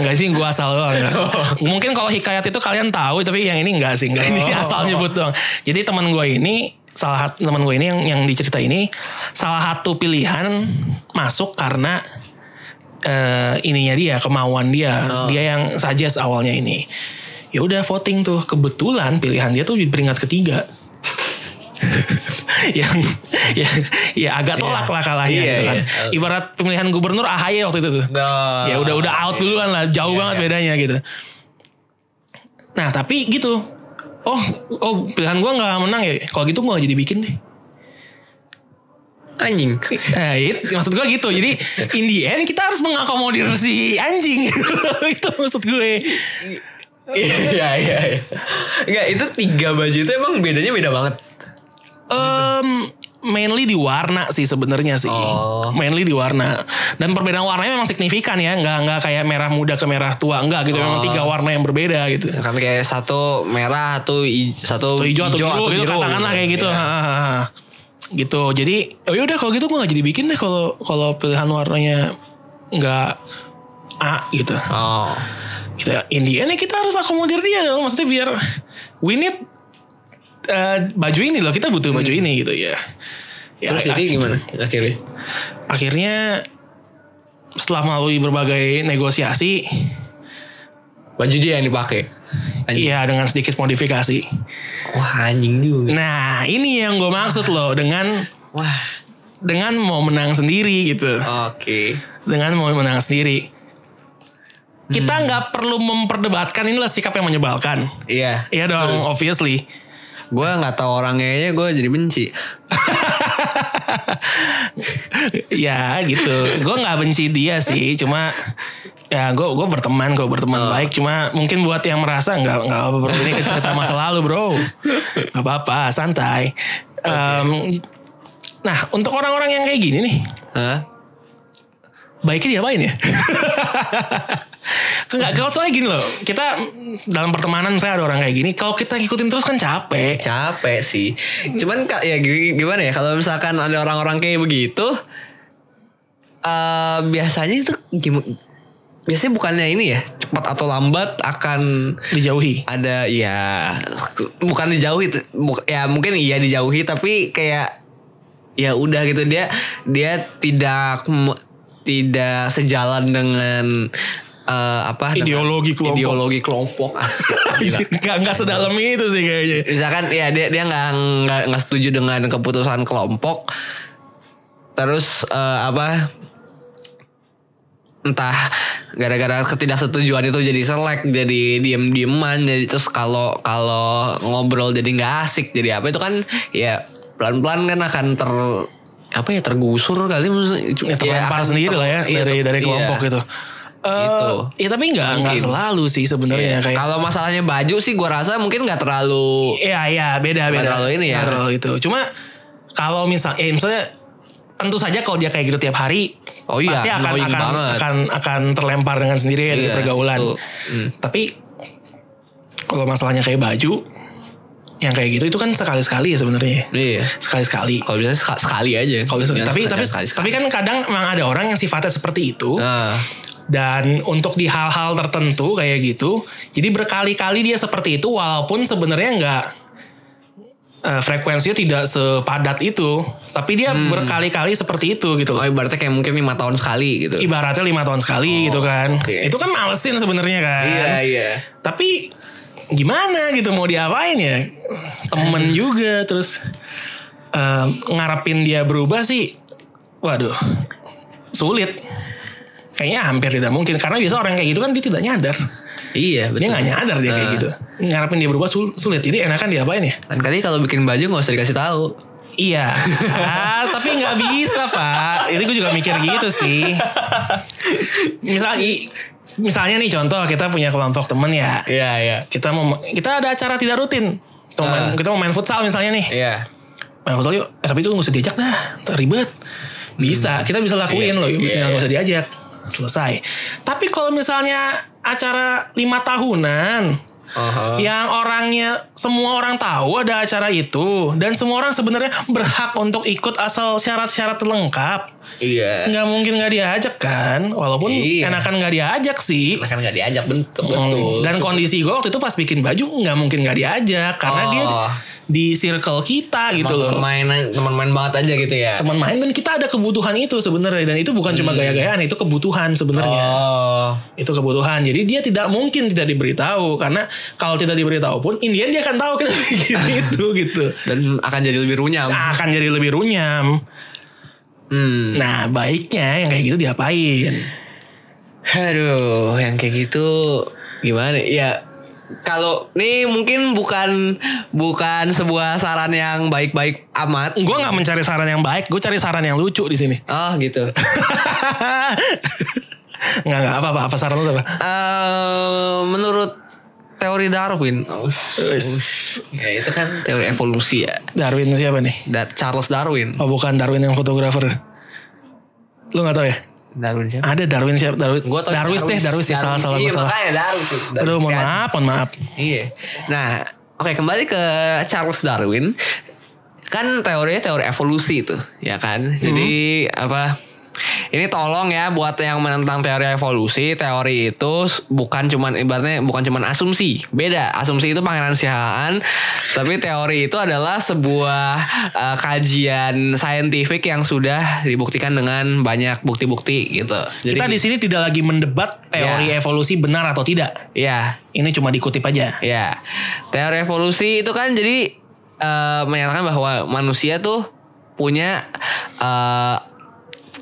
A: Enggak sih gue asal doang enggak.
B: Oh.
A: Mungkin kalau hikayat itu kalian tahu tapi yang ini enggak sih enggak. Ini
B: Oh.
A: asal nyebut doang. Jadi teman gue ini salah satu teman gue ini yang yang dicerita ini salah satu pilihan masuk karena eh, ininya dia kemauan dia
B: Oh.
A: dia yang suggest awalnya ini ya udah voting tuh kebetulan pilihan dia tuh di peringkat ketiga yang ya, ya agak tolak lah kalahnya
B: Iya,
A: gitu kan
B: iya.
A: ibarat pemilihan gubernur AHY waktu itu tuh
B: Nah,
A: ya udah udah out duluan lah jauh banget bedanya gitu nah tapi gitu oh oh pilihan gua nggak menang ya kalau gitu gua nggak jadi bikin deh
B: Anjing.
A: Nah, it- maksud gue gitu. Jadi in the end kita harus mengakomodir si anjing. itu maksud gue.
B: Iya iya iya. Enggak itu tiga baju itu emang bedanya beda banget.
A: Em, mainly di warna sih sebenarnya sih.
B: Oh.
A: Mainly di warna. Dan perbedaan warnanya memang signifikan ya. Nggak nggak kayak merah muda ke merah tua enggak gitu. Memang tiga warna yang berbeda gitu.
B: Kan kayak satu merah, satu i- satu
A: Atau hijau atau biru, gitu katakanlah kayak gitu.
B: Iya.
A: Ha, ha, ha, ha. gitu. Jadi oh yaudah kalau gitu gue nggak jadi bikin deh kalau kalau pilihan warnanya nggak A gitu.
B: Oh.
A: kita in the end ya kita harus akomodir dia dong maksudnya biar we need eh, baju ini loh kita butuh baju ini gitu ya, ya
B: Hmm. Terus
A: ak-
B: jadi gimana akhirnya?
A: akhirnya setelah melalui berbagai negosiasi
B: Baju dia yang dipakai. Anjing.
A: ya dengan sedikit modifikasi Iya.
B: Wah anjing juga.
A: nah ini yang gue maksud loh dengan
B: Wah.
A: dengan mau menang sendiri gitu
B: Oke.
A: dengan mau menang sendiri kita nggak perlu memperdebatkan inilah sikap yang menyebalkan
B: Iya.
A: Iya dong, obviously.
B: Gue nggak tahu orangnya aja gue jadi benci.
A: ya gitu gue nggak benci dia sih cuma ya gue gue berteman gue berteman baik cuma mungkin buat yang merasa nggak nggak apa bro ini cerita masa lalu bro nggak apa apa santai Em, nah untuk orang-orang yang kayak gini nih
B: Hah?
A: baiknya diapain ya Enggak, kalau soalnya gini loh Kita dalam pertemanan saya ada orang kayak gini Kalau kita ngikutin terus kan capek
B: Capek sih. Cuman kak ya gi- gimana ya kalau misalkan ada orang-orang kayak begitu eh biasanya itu gimana biasanya bukannya ini ya cepat atau lambat akan
A: Dijauhi
B: ada ya bukan dijauhi t- bu- ya mungkin iya dijauhi tapi kayak ya udah gitu dia dia tidak me- tidak sejalan dengan eh, apa dengan
A: Ideologi kelompok.
B: ideologi kelompok Asik, gila.
A: Nggak nggak sedalam itu sih kayaknya
B: misalkan ya dia dia nggak nggak nggak setuju dengan keputusan kelompok terus eh, apa entah gara-gara ketidaksetujuan itu jadi selek jadi diem dieman jadi terus kalau kalau ngobrol jadi nggak asik jadi apa itu kan ya pelan pelan kan akan ter apa ya tergusur kali maksudnya.
A: ya terlempar
B: akan
A: sendiri
B: ter-
A: lah ya
B: iya,
A: dari
B: ter-
A: dari
B: iya.
A: kelompok gitu. Eh,
B: Gitu.
A: Ya tapi nggak nggak
B: Mungkin.
A: selalu sih sebenarnya
B: Iya.
A: kayak.
B: kalau masalahnya baju sih gua rasa mungkin nggak terlalu
A: Iya iya beda beda.
B: terlalu ini ya.
A: Nggak terlalu itu. Cuma kalau misal, ya misalnya tentu saja kalau dia kayak gitu tiap hari,
B: Oh iya,
A: pasti akan
B: annoying
A: akan,
B: banget.
A: akan akan terlempar dengan sendirinya dari
B: Iya,
A: pergaulan.
B: betul. Hmm.
A: Tapi kalau masalahnya kayak baju, yang kayak gitu itu kan sekali sekali ya sebenarnya.
B: iya
A: Sekali sekali.
B: Kalau bisa sek- sekali aja.
A: Kalau bisa- tapi tapi tapi
B: sekali.
A: kan kadang memang ada orang yang sifatnya seperti itu.
B: Nah,
A: Dan untuk di hal-hal tertentu kayak gitu, jadi berkali-kali dia seperti itu walaupun sebenarnya nggak eh, frekuensinya tidak sepadat itu, tapi dia
B: Hmm.
A: berkali-kali seperti itu gitu
B: oh
A: loh.
B: ibaratnya kayak mungkin lima tahun sekali gitu.
A: Ibaratnya lima tahun sekali gitu kan,
B: Oh, oke.
A: itu kan malesin sebenarnya kan.
B: iya.
A: Tapi gimana gitu mau diapain ya? Temen juga terus eh, ngarepin dia berubah sih, waduh, sulit. Kayaknya hampir tidak mungkin karena biasa orang kayak gitu kan dia tidak nyadar. Dia
B: Iya betul.
A: nggak nyadar dia kayak
B: Eh.
A: gitu. Ngarepin dia berubah sul- sulit. Jadi enakan diapain ya?
B: Dan kali kalau bikin baju nggak usah dikasih tahu.
A: Iya, Ah, tapi nggak bisa pak. Ini gue juga mikir gitu sih. Misal, i- misalnya nih contoh kita punya kelompok temen ya.
B: Iya iya.
A: Kita mau kita ada acara tidak rutin. Kita mau
B: Ah.
A: main, kita mau main futsal misalnya nih.
B: Iya.
A: Main futsal yuk. Eh, tapi itu nggak usah diajak dah, ntar ribet. Bisa, kita bisa lakuin
B: Iya,
A: loh. Yuk,
B: iya,
A: tinggal nggak
B: iya.
A: usah diajak. Selesai. Tapi kalau misalnya acara lima tahunan,
B: Aha.
A: yang orangnya semua orang tahu ada acara itu dan semua orang sebenarnya berhak untuk ikut asal syarat-syarat lengkap
B: Iya.
A: nggak mungkin nggak diajak kan walaupun
B: Iya.
A: enakan nggak diajak sih Mm.
B: Kan nggak diajak bentuk
A: Hmm.
B: betul.
A: dan kondisi gue waktu itu pas bikin baju nggak mungkin nggak diajak karena dia
B: Oh.
A: di circle kita gitu loh
B: mainan teman main banget aja gitu ya.
A: teman main dan kita ada kebutuhan itu sebenarnya dan itu bukan cuma gaya-gayaan itu kebutuhan sebenarnya
B: Hmm. Oh.
A: itu kebutuhan jadi dia tidak mungkin tidak diberitahu karena kalau tidak diberitahu pun Indian dia akan tahu kita bikin itu gitu
B: Dan akan jadi lebih runyam.
A: Nah, akan jadi lebih runyam
B: Hmm.
A: nah baiknya yang kayak gitu diapain
B: Aduh, yang kayak gitu gimana ya? Kalau nih mungkin bukan bukan sebuah saran yang baik-baik amat.
A: gue nggak mencari saran yang baik gue cari saran yang lucu di sini
B: Oh gitu.
A: nggak nggak apa apa apa saran lu apa
B: Eh, menurut teori Darwin,
A: Wis.
B: ya itu kan teori evolusi ya.
A: Darwin siapa nih
B: Da- Charles Darwin.
A: oh bukan Darwin yang fotografer lu nggak tahu ya
B: Darwin siapa?
A: ada Darwin siapa Darwin
B: Gua tau
A: Darwis deh Darwis ya salah salah gua
B: Iya,
A: salah
B: makanya Darwin. Darwin.
A: aduh mohon maaf mohon maaf
B: Iya. Nah, oke kembali ke Charles Darwin. Kan teorinya teori evolusi itu, ya
A: Hmm.
B: kan? Jadi apa? Ini tolong ya buat yang menentang teori evolusi, teori itu s- bukan cuman ibaratnya bukan cuman asumsi. Beda, asumsi itu pangeran tapi teori itu adalah sebuah eh, kajian saintifik yang sudah dibuktikan dengan banyak bukti-bukti gitu. Jadi
A: kita di sini tidak lagi mendebat teori evolusi benar atau tidak
B: ya,
A: ini cuma dikutip aja
B: Ya, teori evolusi itu kan jadi eh, menyatakan bahwa manusia tuh punya eh,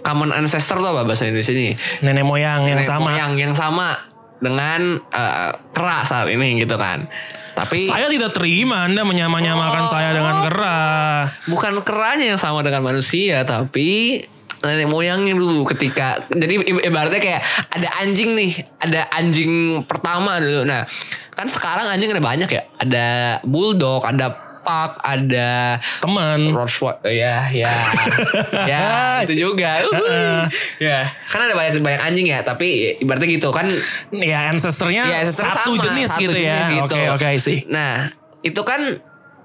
B: common ancestor tuh apa bahasa Indonesia ini?
A: nenek moyang yang sama
B: Yang yang sama dengan eh, kera saat ini gitu kan. Tapi
A: Saya tidak terima Anda menyamanyamakan saya
B: Oh.
A: dengan kera.
B: bukan keranya yang sama dengan manusia, tapi nenek moyangnya dulu ketika jadi i- ibaratnya kayak ada anjing nih ada anjing pertama dulu nah kan sekarang anjing ada banyak ya ada bulldog ada pak ada
A: Teman.
B: Rochwa ya ya ya itu juga
A: Eh,
B: Uhuy. ya kan ada banyak banyak anjing ya tapi ibaratnya gitu kan
A: Ya ancestornya
B: ya secara
A: satu
B: sama,
A: jenis
B: satu
A: gitu
B: jenis
A: ya.
B: gitu.
A: Oke oke sih.
B: nah itu kan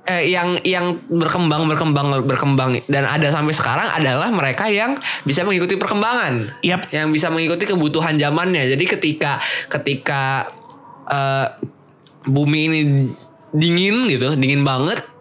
B: eh, yang yang berkembang berkembang berkembang dan ada sampai sekarang adalah mereka yang bisa mengikuti perkembangan
A: Yap.
B: yang bisa mengikuti kebutuhan zamannya jadi ketika ketika eh, bumi ini dingin gitu dingin banget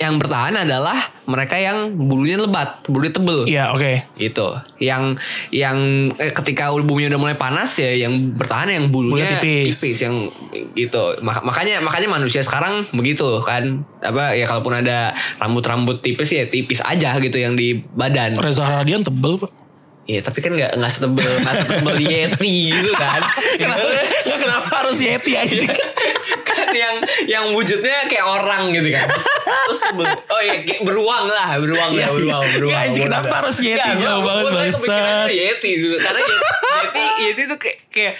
B: yang bertahan adalah mereka yang bulunya lebat, bulunya tebel
A: Iya oke.
B: gitu yang yang eh, ketika bumi udah mulai panas ya yang bertahan yang bulunya
A: Bulunya tipis.
B: yang gitu Mak- makanya makanya manusia sekarang begitu kan apa ya kalaupun ada rambut-rambut tipis ya tipis aja gitu yang di badan
A: Reza Radian tebel pak.
B: ya tapi kan nggak nggak setebel nggak setebel yeti gitu kan
A: Nggak, kenapa harus Yeti aja?
B: kan yang yang wujudnya kayak orang gitu kan terus, terus tebel. oh iya kayak beruang lah beruang lah beruang beruang
A: Nggak, Iya, anjing,
B: beruang.
A: kenapa harus Yeti?
B: Nggak, gua-
A: Jauh banget,
B: gua tadi
A: bangsat.
B: kepikirannya yeti dulu karena yeti yeti, yeti tuh kayak, kayak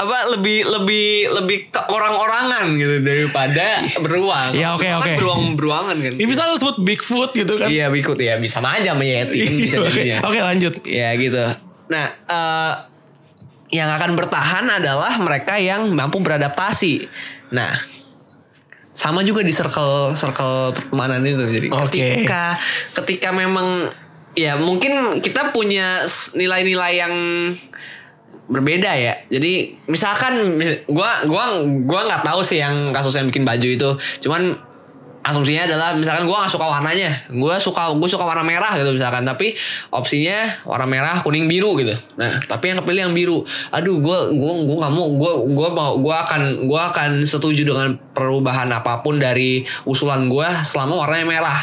B: apa lebih lebih lebih ke orang-orangan gitu daripada beruang
A: Iya, oke,
B: Kan
A: oke.
B: beruang beruangan kan
A: Ya, bisa lu sebut Bigfoot gitu kan? Iya,
B: iya ikut ya bisa aja sama yeti kan bisa
A: Oke,
B: jadinya
A: Oke lanjut.
B: Ya gitu. Nah, eh, yang akan bertahan adalah mereka yang mampu beradaptasi. Nah, sama juga di circle circle pertemanan itu. Jadi
A: Oke.
B: ketika ketika memang ya mungkin kita punya s- nilai-nilai yang berbeda ya. Jadi misalkan mis- gua gua gua nggak tahu sih yang kasus yang bikin baju itu. Cuman asumsinya adalah misalkan gua nggak suka warnanya. Gua suka gua suka warna merah gitu misalkan, tapi opsinya warna merah, kuning, biru gitu. Nah, tapi yang kepilih yang biru. Aduh, gua gua gua nggak mau gua gua mau gua akan gua akan setuju dengan perubahan apapun dari usulan gua selama warnanya merah.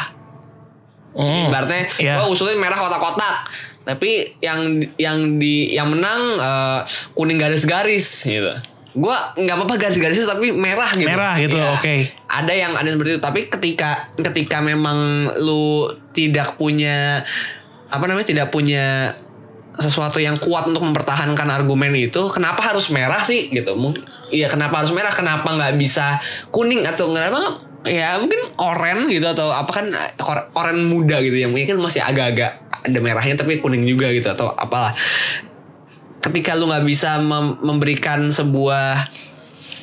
B: Hmm. Ibaratnya oh,
A: Iya.
B: gua usulin merah kotak-kotak. Tapi yang yang di yang menang eh, kuning garis-garis gitu. Gua nggak apa-apa garis-garisnya tapi merah gitu.
A: Merah gitu,
B: Iya.
A: oke.
B: Ada yang ada yang seperti itu, tapi ketika ketika memang lu tidak punya apa namanya tidak punya sesuatu yang kuat untuk mempertahankan argumen itu, kenapa harus merah sih gitu? Mung- Iya kenapa harus merah? Kenapa nggak bisa kuning atau kenapa nggak- ya mungkin oren gitu atau apa kan kor- oren muda gitu yang mungkin masih agak-agak ada merahnya tapi kuning juga gitu atau apalah ketika lu nggak bisa mem- memberikan sebuah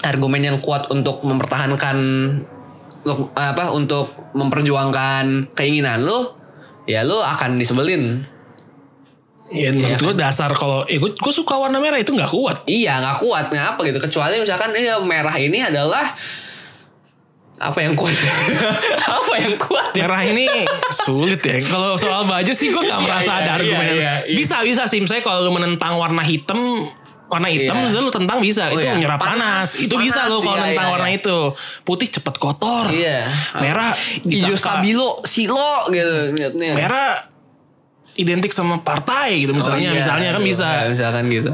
B: argumen yang kuat untuk mempertahankan lu- apa untuk memperjuangkan keinginan lu ya lu akan disebelin
A: Ya, maksud gue dasar kalau ya gue, gue suka warna merah itu nggak kuat.
B: iya nggak kuat nggak apa gitu kecuali misalkan iya merah ini adalah apa yang kuat apa yang kuat ya?
A: Merah ini sulit ya. Kalau soal baju sih gue nggak merasa
B: Iya,
A: ada
B: iya,
A: argumen.
B: iya, iya, iya.
A: Bisa bisa sih misalnya kalau lu menentang warna hitam warna hitam
B: Iya.
A: misalnya lu tentang bisa
B: Oh,
A: itu
B: iya.
A: menyerap panas,
B: Panas,
A: itu bisa
B: panas,
A: lo kalau
B: iya,
A: nentang
B: iya,
A: warna
B: iya.
A: itu putih cepet kotor
B: iya
A: merah
B: hijau
A: disangka-
B: stabilo silo gitu niatnya
A: merah identik sama partai gitu misalnya
B: Oh, iya,
A: misalnya kan
B: aduh,
A: bisa
B: ya, misalkan gitu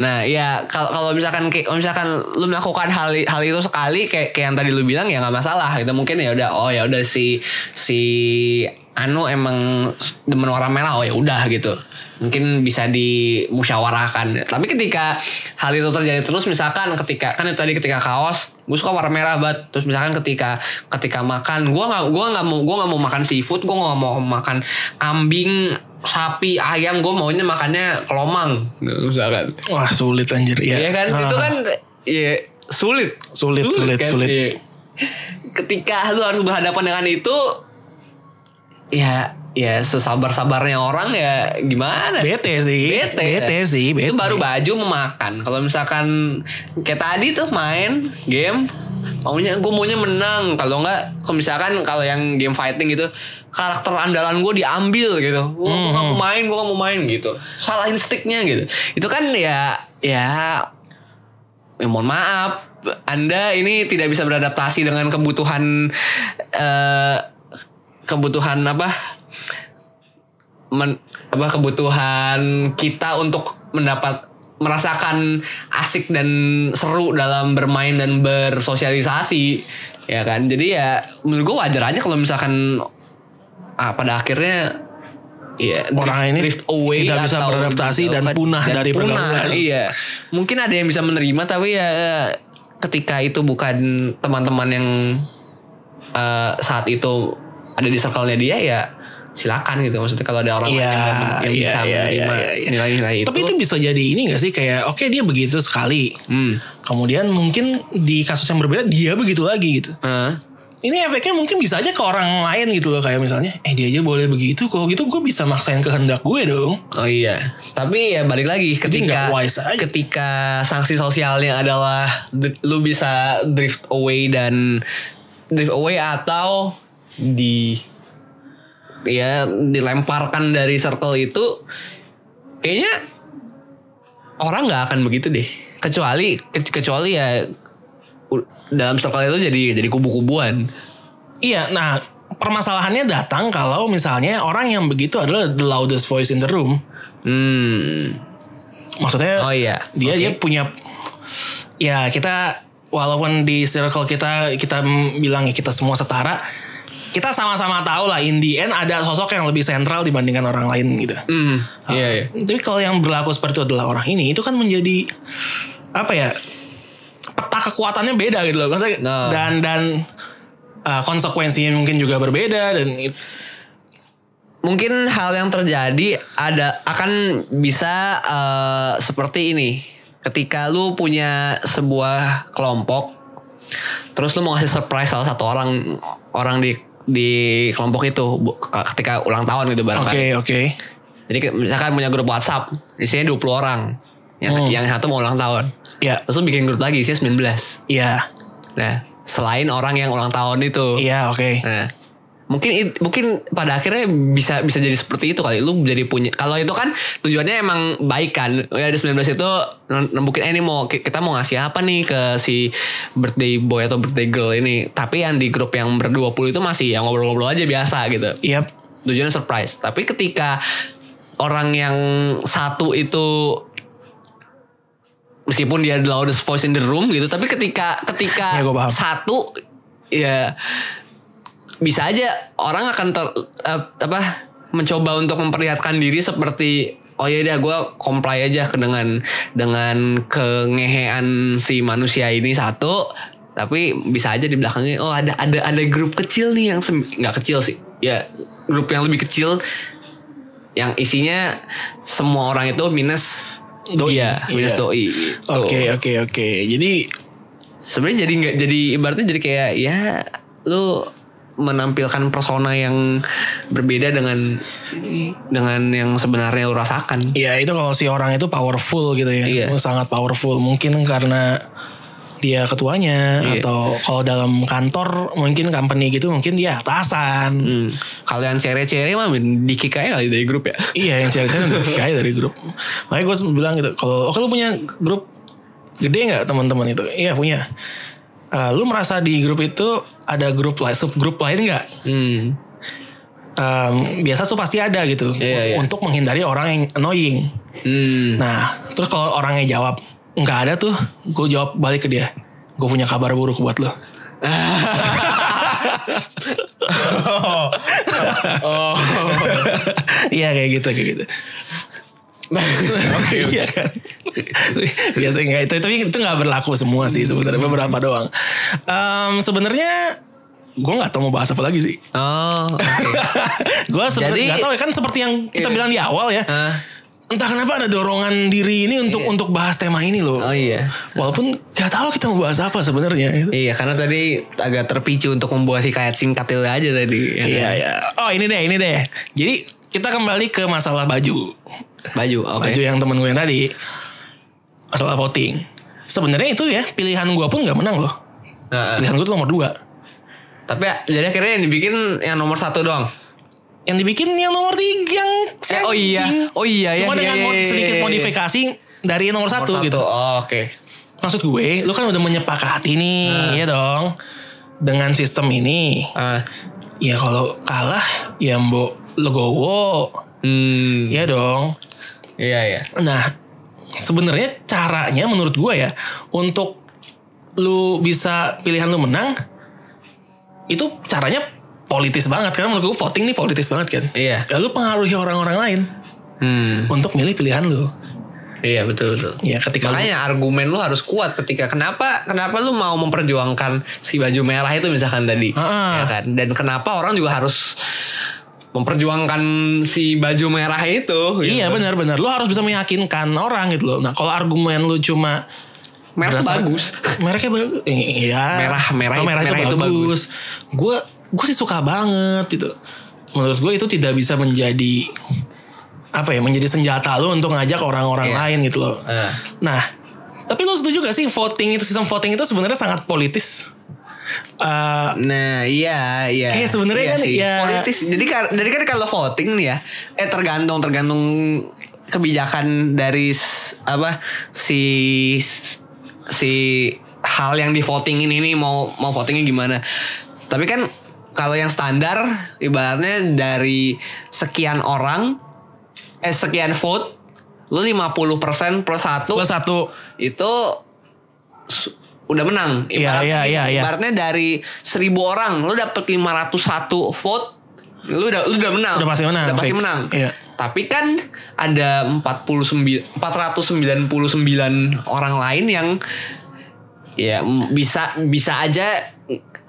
B: nah ya kalau kalau misalkan kayak kalau misalkan lu melakukan hal hal itu sekali kayak kayak yang tadi lu bilang ya nggak masalah gitu mungkin ya udah oh ya udah si si Anu emang demen warna merah oh ya udah gitu mungkin bisa dimusyawarahkan tapi ketika hal itu terjadi terus misalkan ketika kan itu tadi ketika kaos gue suka warna merah banget terus misalkan ketika ketika makan gue nggak gua nggak mau gua nggak mau makan seafood gue nggak mau makan kambing sapi ayam gue maunya makannya kelomang gitu, misalkan
A: wah sulit anjir ya
B: ya kan itu
A: Ah.
B: kan ya sulit
A: Sulit, sulit,
B: kan?
A: sulit.
B: Iya. ketika lu harus berhadapan dengan itu ya ya sesabar sabarnya orang ya gimana
A: bete sih
B: bete
A: sih bete.
B: itu baru baju memakan kalau misalkan kayak tadi tuh main game maunya gue maunya menang kalau nggak kalau misalkan kalau yang game fighting gitu karakter andalan gue diambil gitu gue nggak
A: Hmm.
B: mau main gue nggak mau main gitu salahin sticknya gitu itu kan ya ya ya mohon maaf anda ini tidak bisa beradaptasi dengan kebutuhan eh, kebutuhan apa men- apa kebutuhan kita untuk mendapat merasakan asik dan seru dalam bermain dan bersosialisasi ya kan jadi ya menurut gue wajar aja kalau misalkan ah, pada akhirnya ya
A: Orang ini tidak bisa
B: atau-
A: beradaptasi dan punah dari pergaulan.
B: iya mungkin ada yang bisa menerima tapi ya ketika itu bukan teman-teman yang eh, saat itu ada di circle-nya dia ya silakan gitu maksudnya kalau ada orang lain
A: Iya,
B: yang, yang
A: iya,
B: bisa
A: iya,
B: menerima
A: iya, iya.
B: nilai-nilai itu
A: tapi itu bisa jadi ini gak sih kayak oke dia begitu sekali
B: hmm.
A: kemudian mungkin di kasus yang berbeda dia begitu lagi gitu
B: Heeh.
A: ini efeknya mungkin bisa aja ke orang lain gitu loh kayak misalnya eh dia aja boleh begitu kok gitu gue bisa maksain kehendak gue dong
B: Oh iya, tapi ya balik lagi ketika
A: nggak wise aja.
B: ketika sanksi sosialnya adalah d- lu bisa drift away dan drift away atau di ya dilemparkan dari circle itu kayaknya orang nggak akan begitu deh kecuali ke- kecuali ya u- dalam circle itu jadi jadi kubu-kubuan
A: Iya, nah permasalahannya datang kalau misalnya orang yang begitu adalah the loudest voice in the room.
B: hmm
A: Maksudnya
B: oh iya
A: dia
B: Oke.
A: dia punya ya kita walaupun di circle kita kita m- bilang ya kita semua setara, kita sama-sama tahu lah in the end ada sosok yang lebih sentral dibandingkan orang lain gitu.
B: hmm iya iya
A: Tapi kalau yang berlaku seperti itu adalah orang ini itu kan menjadi apa ya peta kekuatannya beda gitu loh. Maksudnya,
B: Nah.
A: Dan dan uh, konsekuensinya mungkin juga berbeda dan it-
B: mungkin hal yang terjadi ada akan bisa eh, seperti ini ketika lu punya sebuah kelompok terus lu mau ngasih surprise salah satu orang orang di di kelompok itu bu- ketika ulang tahun gitu barangkali
A: Oke oke.
B: jadi ke- misalkan punya grup WhatsApp isinya 20 orang yang yang satu mau ulang tahun
A: Ya
B: terus lu bikin grup lagi isinya 19
A: ya
B: nah selain orang yang ulang tahun itu
A: ya oke.
B: Nah, mungkin it- mungkin pada akhirnya bisa bisa jadi seperti itu kali lu jadi punya kalau itu kan tujuannya emang baik kan ya di 19 itu nem- nembukin eh, ini mau ki- kita mau ngasih apa nih ke si birthday boy atau birthday girl ini tapi yang di grup yang ber 20 itu masih yang ngobrol-ngobrol aja ya biasa gitu
A: Yap.
B: tujuannya surprise tapi ketika orang yang satu itu meskipun dia the loudest voice in the room gitu tapi ketika ketika
A: Ya, gua paham.
B: satu ya bisa aja orang akan ter, eh, apa mencoba untuk memperlihatkan diri seperti oh ya udah gue comply aja ke dengan dengan kengehean si manusia ini satu tapi bisa aja di belakangnya oh ada ada ada grup kecil nih yang sem- nggak kecil sih ya grup yang lebih kecil yang isinya semua orang itu minus
A: Doi,
B: Iya, minus
A: iya.
B: doi gitu.
A: Oke oke oke. Jadi
B: sebenarnya jadi nggak jadi ibaratnya jadi kayak ya lu menampilkan persona yang berbeda dengan dengan yang sebenarnya lu rasakan
A: ya itu kalau si orang itu powerful gitu ya.
B: Iya.
A: Sangat powerful. Mungkin karena dia ketuanya
B: Iya.
A: atau kalau dalam kantor mungkin company gitu mungkin dia atasan.
B: hmm. kalian cere-cere mah dikik aja kali dari grup ya
A: Iya yang cewek cewek kayak dari grup. Makanya gue bilang gitu kalau oke lu punya grup gede nggak teman-teman itu? Iya punya. Eh, lu merasa di grup itu ada grup lain subgrup lain nggak?
B: hmm.
A: Em, biasa tuh pasti ada gitu
B: Iya, iya.
A: untuk menghindari orang yang annoying.
B: Hmm.
A: Nah, terus kalau orangnya jawab nggak ada tuh, gue jawab balik ke dia, gue punya kabar buruk buat lo.
B: oh
A: Iya kayak gitu kayak gitu. Iya kan. Biasanya nggak itu, tapi itu nggak berlaku semua sih sebenarnya beberapa doang. Em, sebenarnya gue nggak tahu mau bahas apa lagi sih.
B: oh oke.
A: gue sebenarnya
B: Jadi-
A: nggak tahu ya kan seperti yang kita
B: Iya.
A: bilang di awal ya.
B: Hah?
A: Entah kenapa ada dorongan diri ini untuk untuk bahas tema ini loh.
B: Iya. oh iya
A: Walaupun nggak tahu kita mau bahas apa sebenarnya. gitu.
B: Iya karena tadi agak terpicu untuk membuat hikayat singkat itu aja tadi ya kan?
A: Iya ya. Oh ini deh, ini deh. Jadi kita kembali ke masalah baju,
B: Baju oke
A: baju yang temen gue yang tadi, masalah voting. Sebenarnya itu ya pilihan gue pun nggak menang loh.
B: Nah,
A: Pilihan gue tuh nomor dua.
B: Tapi ya, jadi akhirnya yang dibikin yang nomor satu doang
A: Yang dibikin yang nomor tiga yang
B: Eh, oh iya.
A: anjing.
B: Oh iya, iya,
A: Cuma
B: iya,
A: dengan
B: iya,
A: mod-
B: iya,
A: sedikit
B: iya, iya.
A: modifikasi dari yang nomor, satu,
B: Nomor
A: gitu.
B: Oh, oke.
A: Maksud gue, lu kan udah menyepakati nih,
B: Nah.
A: ya dong. Dengan sistem ini,
B: Ah.
A: ya kalau kalah ya mbok legowo,
B: Hmm.
A: ya dong.
B: Iya, iya.
A: Nah, sebenarnya caranya menurut gue ya untuk lu bisa pilihan lu menang itu caranya politis banget karena menurut gue voting nih politis banget kan.
B: Iya.
A: Ya, lu pengaruhi orang-orang lain
B: Hmm.
A: untuk milih pilihan lu.
B: Iya, betul betul.
A: Ya ketika lu-
B: Makanya argumen lu harus kuat ketika kenapa kenapa lu mau memperjuangkan si baju merah itu misalkan tadi.
A: Ah.
B: Ya kan? Dan kenapa orang juga harus memperjuangkan si baju merah itu. gitu.
A: Iya benar-benar lu harus bisa meyakinkan orang gitu loh. Nah kalau argumen lu cuma
B: Merah tuh
A: berdasar-
B: bagus.
A: Mereknya bagus. Iya.
B: Merah, merah-
A: Oh, merah,
B: merah
A: itu,
B: itu
A: bagus. Gue gue sih suka banget gitu. Menurut gue itu tidak bisa menjadi apa ya menjadi senjata lu untuk ngajak orang-orang
B: Iya.
A: lain gitu loh.
B: Ah.
A: Nah tapi lu setuju gak sih voting itu sistem voting itu sebenarnya sangat politis. Eh,
B: Nah iya iya.
A: Kayak sebenarnya
B: Iya
A: kan,
B: sih.
A: ya-
B: politis. Jadi kar- jadi kan kalau voting nih ya, eh tergantung tergantung kebijakan dari s- apa si si hal yang di voting ini nih mau mau votingnya gimana. Tapi kan kalau yang standar ibaratnya dari sekian orang eh sekian vote lu 50% plus satu
A: plus satu
B: itu su- udah menang.
A: Iya, iya,
B: gitu.
A: iya, iya.
B: ibaratnya dari seribu orang lu dapet 501 vote, lu udah lu udah menang.
A: Udah pasti menang,
B: Udah pasti
A: fix.
B: menang.
A: Iya.
B: Tapi kan ada 49 499 orang lain yang ya m- bisa bisa aja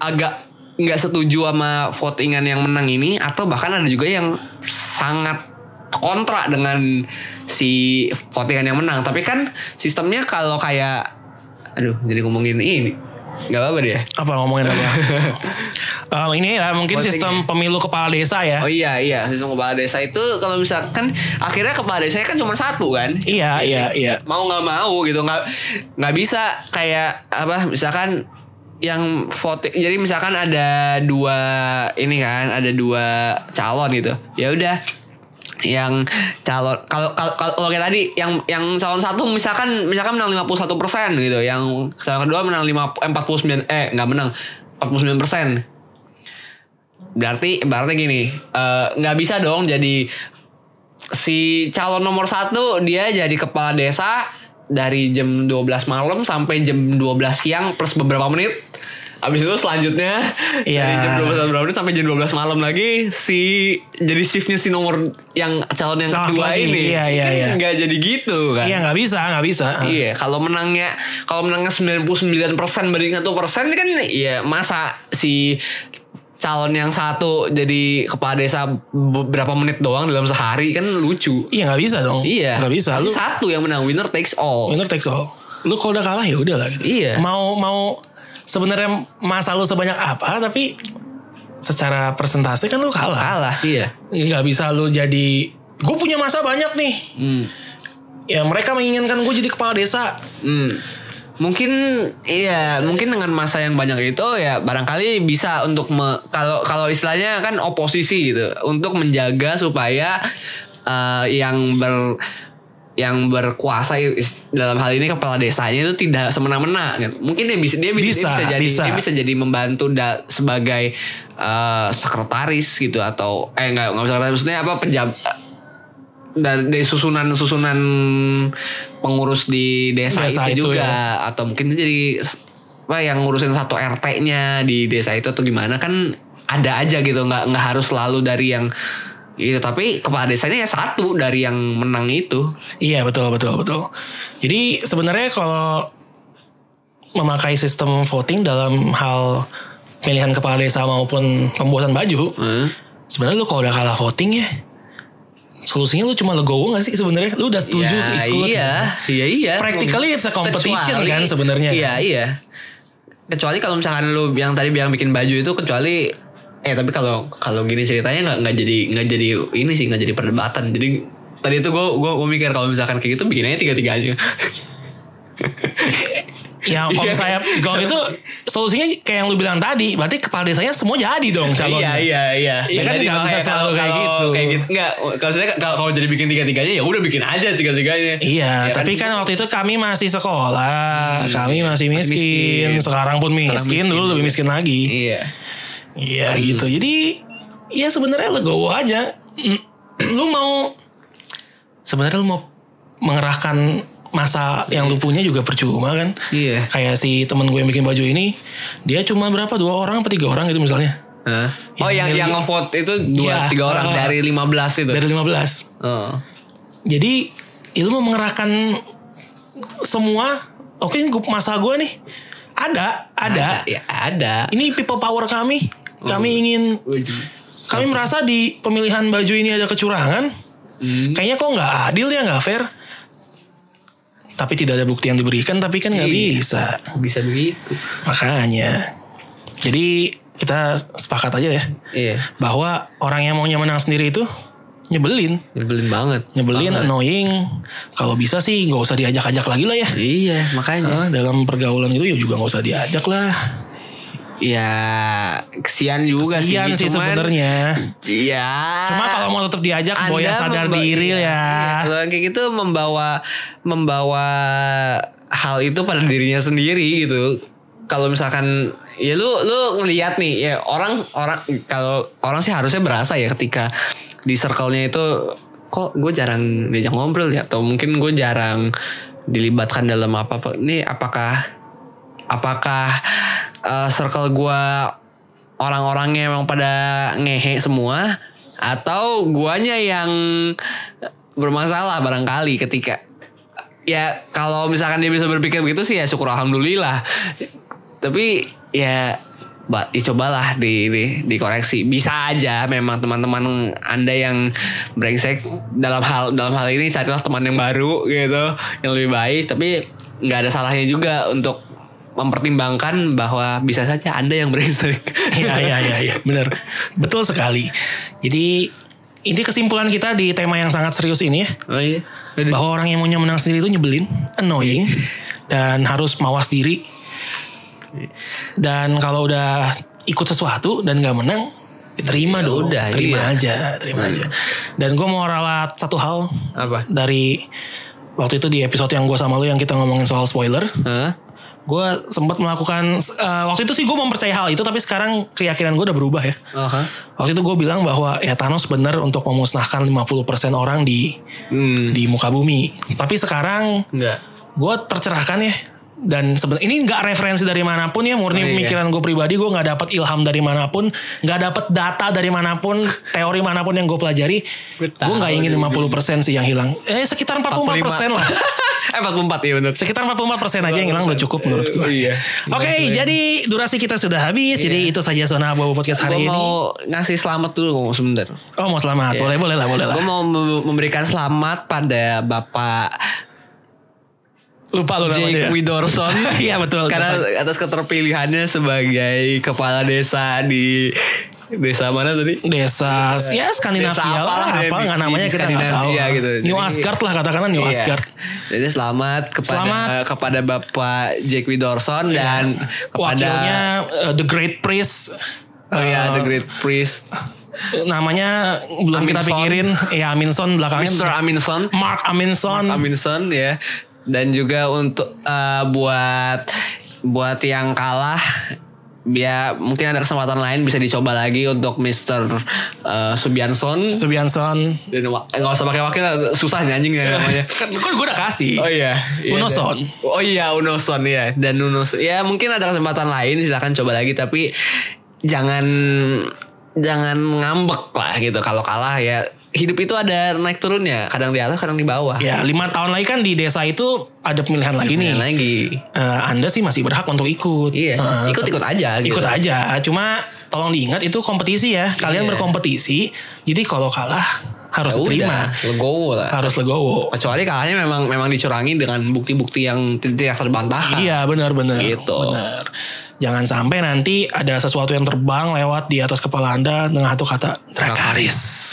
B: agak nggak setuju sama votingan yang menang ini atau bahkan ada juga yang sangat kontra dengan si votingan yang menang tapi kan sistemnya kalau kayak aduh jadi ngomongin ini nggak apa-apa deh ya?
A: apa ngomongin apa? Eh, ini ya mungkin
B: Voting
A: sistem pemilu kepala desa ya.
B: oh iya iya sistem kepala desa itu kalau misalkan akhirnya kepala desa kan cuma satu kan
A: Iya iya iya.
B: mau nggak mau gitu nggak nggak bisa kayak apa misalkan yang voting jadi misalkan ada dua ini kan ada dua calon gitu ya udah yang calon kalau kalau kalau kayak tadi yang yang calon satu misalkan misalkan menang 51 persen gitu yang eh, calon kedua menang 5, 49 eh nggak menang 49 persen Berarti berarti gini, eh, nggak bisa dong jadi si calon nomor satu dia jadi kepala desa dari jam 12 malam sampai jam 12 siang plus beberapa menit. Abis itu selanjutnya
A: Iya.
B: dari jam 12 sampai berapa menit sampai jam 12 malam lagi si jadi shiftnya si nomor yang calon yang
A: Calon
B: kedua
A: lagi,
B: ini
A: iya, iya,
B: Kan
A: iya.
B: nggak jadi gitu kan.
A: Iya nggak bisa, nggak bisa.
B: Iya, kalau menangnya kalau menangnya 99% banding 1% ini kan ya masa si calon yang satu jadi kepala desa beberapa menit doang dalam sehari kan lucu.
A: Iya nggak bisa dong.
B: Iya.
A: Nggak bisa. Lu
B: Pasti
A: Iya.
B: satu yang menang winner takes all.
A: winner takes all. Lu kalau udah kalah ya udah lah gitu.
B: Iya.
A: Mau mau sebenarnya masa lu sebanyak apa tapi secara persentase kan lu kalah. Ya,
B: Kalah, iya.
A: Nggak bisa lu jadi gue punya masa banyak nih.
B: Hmm.
A: Ya mereka menginginkan gue jadi kepala desa.
B: Hmm. Mungkin iya, mungkin dengan masa yang banyak itu ya barangkali bisa untuk me- kalau kalau istilahnya kan oposisi gitu, untuk menjaga supaya eh, yang ber yang berkuasa is- dalam hal ini kepala desanya itu tidak semena-mena gitu. Mungkin dia bisa dia bisa, dia
A: Bisa,
B: bisa jadi
A: bisa.
B: dia bisa jadi membantu da- sebagai eh, sekretaris gitu atau eh enggak enggak sekretaris maksudnya apa penjabat dari, dari susunan-susunan pengurus di desa,
A: Desa itu
B: itu, juga atau mungkin dia jadi s- apa yang ngurusin satu RT-nya di desa itu atau gimana kan ada aja gitu nggak nggak harus selalu dari yang itu tapi kepala desanya ya satu dari yang menang itu
A: Iya betul betul betul. Jadi sebenarnya kalau memakai sistem voting dalam hal pilihan kepala desa maupun pembuatan baju,
B: Heeh.
A: sebenarnya lu kalau udah kalah voting ya, solusinya lu cuma legowo gak sih sebenarnya? Lu udah setuju
B: ya,
A: ikut?
B: iya iya iya
A: Practically it's a competition
B: Kecuali-
A: kan sebenarnya.
B: iya iya kecuali kalau misalkan lu yang tadi bilang bikin baju itu kecuali eh tapi kalau kalau gini ceritanya nggak nggak jadi nggak jadi ini sih nggak jadi perdebatan jadi tadi itu gue gue mikir kalau misalkan kayak gitu bikinnya tiga tiga aja
A: Ya kalau
B: Iya.
A: saya kalau itu solusinya kayak yang lu bilang tadi, berarti kepala desanya semua jadi dong
B: iya
A: calonnya.
B: iya iya
A: Iya kan
B: Jadi
A: nggak bisa
B: makanya
A: selalu
B: kalau-
A: kayak
B: kalau
A: gitu.
B: kayak gitu nggak kalau saya kalau kalau jadi bikin tiga tiganya ya udah bikin aja tiga tiganya Ya
A: Iya, tapi kan, waktu itu kami masih sekolah, kami masih miskin.
B: Hmm, miskin.
A: Sekarang pun miskin, dulu lebih miskin lagi.
B: iya
A: Iya gitu. Jadi ya sebenarnya legowo aja. lu mau sebenarnya lu mau mengerahkan masa yang lu punya juga percuma kan?
B: iya
A: Kayak si temen gue yang bikin baju ini, dia cuma berapa dua orang apa tiga orang gitu misalnya
B: Hah? Oh yang yang ngevote itu dua
A: Iya.
B: tiga orang
A: Ah.
B: dari 15 itu.
A: dari 15
B: Oh.
A: Jadi ya lu mau mengerahkan semua, oke gu- masa gue nih ada ada.
B: Ya ada.
A: Ini people power kami. Kami ingin kami merasa di pemilihan baju ini ada kecurangan.
B: Hmm.
A: Kayaknya kok nggak adil ya nggak fair. Tapi tidak ada bukti yang diberikan tapi kan nggak
B: Iya.
A: bisa.
B: Bisa begitu.
A: Makanya. Jadi kita sepakat aja ya
B: Iya.
A: bahwa orang yang maunya menang sendiri itu nyebelin,
B: Nyebelin banget.
A: nyebelin,
B: Banget.
A: annoying. Kalau bisa sih nggak usah diajak-ajak lagi lah ya.
B: Iya
A: Ah,
B: makanya.
A: dalam pergaulan itu ya juga nggak usah diajak lah.
B: Ya kesian juga
A: Kesian sih
B: sih. gitu, cuman-
A: sebenarnya.
B: Iya.
A: Cuma kalau mau tetap diajak, boya sadar
B: memba-
A: diri
B: iya,
A: ya.
B: iya. Kalau yang kayak gitu membawa membawa hal itu pada dirinya sendiri gitu. Kalau misalkan ya lu lu ngelihat nih ya orang orang kalau orang sih harusnya berasa ya ketika di circle-nya itu kok gue jarang diajak ngobrol ya atau mungkin gue jarang dilibatkan dalam apa apa ini apakah apakah eh, circle gua orang-orangnya emang pada ngehe semua atau guanya yang bermasalah barangkali ketika ya kalau misalkan dia bisa berpikir begitu sih ya syukur alhamdulillah tapi ya ba- ya cobalah di, di dikoreksi bisa aja memang teman-teman anda yang brengsek dalam hal dalam hal ini carilah teman yang baru gitu yang lebih baik tapi nggak ada salahnya juga untuk mempertimbangkan bahwa bisa saja anda yang brengsek
A: Iya iya iya iya benar. Betul sekali. Jadi ini kesimpulan kita di tema yang sangat serius ini ya.
B: oh, iya.
A: Bahwa orang yang maunya menang sendiri itu nyebelin, annoying dan harus mawas diri. Dan kalau udah ikut sesuatu dan gak menang, ya terima dong.
B: udah,
A: terima
B: iya.
A: aja, terima aja. Dan gue mau ralat satu hal
B: apa
A: dari waktu itu di episode yang gue sama lu yang kita ngomongin soal spoiler.
B: Hah?
A: Gue sempat melakukan eh, waktu itu sih gue mempercayai hal itu tapi sekarang keyakinan gue udah berubah ya.
B: Aha.
A: Waktu itu gue bilang bahwa ya Thanos benar untuk memusnahkan 50% orang di
B: Hmm.
A: di muka bumi. Tapi sekarang
B: Enggak.
A: gue tercerahkan ya dan sebenarnya ini nggak referensi dari manapun ya murni
B: Oh, iya.
A: pemikiran gue pribadi gue nggak dapat ilham dari manapun nggak dapat data dari manapun teori manapun yang gue pelajari gue
B: Gua
A: nggak
B: tahu
A: ingin 50% sih yang hilang eh sekitar 44% lah
B: eh 44 ya bener.
A: sekitar 44% aja yang hilang udah cukup menurut gue
B: Iya.
A: oke jadi durasi kita sudah habis jadi itu saja zona abu podcast
B: Gue
A: hari ini
B: mau Iya. ngasih selamat dulu sebentar.
A: oh mau selamat boleh boleh lah boleh lah
B: Gue mau mem- memberikan selamat pada Bapak
A: lupa lo
B: Jake
A: namanya
B: Widorson.
A: Iya, betul.
B: Karena atas keterpilihannya sebagai kepala desa di desa mana tadi?
A: desa ya Skandinavia
B: Iya. Desa
A: lah apa
B: apalah di-
A: nggak
B: di-
A: namanya
B: di
A: kita nggak tahu
B: Skandinavia gitu.
A: New
B: Jadi-
A: Asgard lah katakanlah New
B: Iya.
A: Asgard
B: Jadi selamat kepada
A: Selamat. Iya.
B: kepada Bapak Jack Widorson dan kepada
A: wakilnya eh, The Great Priest
B: Oh iya,
A: eh,
B: The Great Priest
A: namanya belum kita
B: Aminson.
A: pikirin ya Aminson belakangnya
B: Mr. Aminson.
A: Mark Aminson
B: Aminson ya. Dan juga untuk eh, buat buat yang kalah ya mungkin ada kesempatan lain bisa dicoba lagi untuk Mr. eh, Subianson
A: Subianson
B: dan wa- eh, nggak usah pakai wakil susah nyanyi ya namanya.
A: kan gue udah kasih
B: Oh iya, iya
A: Unoson.
B: dan- oh iya Unoson ya dan Unoson ya mungkin ada kesempatan lain silahkan coba lagi tapi jangan jangan ngambek lah gitu kalau kalah ya hidup itu ada naik turunnya kadang di atas kadang di bawah.
A: ya lima tahun lagi kan di desa itu ada pemilihan lagi nih
B: Dan lagi
A: Eh, anda sih masih berhak untuk ikut
B: iya
A: Eh,
B: ikut-ikut aja gitu.
A: ikut aja cuma tolong diingat itu kompetisi ya kalian
B: Iya.
A: berkompetisi jadi kalau kalah harus
B: Ya
A: terima
B: udah, legowo lah.
A: harus legowo
B: Kecuali kalahnya memang memang dicurangi dengan bukti-bukti yang tidak terbantahkan.
A: iya benar-benar
B: Gitu.
A: benar jangan sampai nanti ada sesuatu yang terbang lewat di atas kepala anda dengan satu kata Drakaris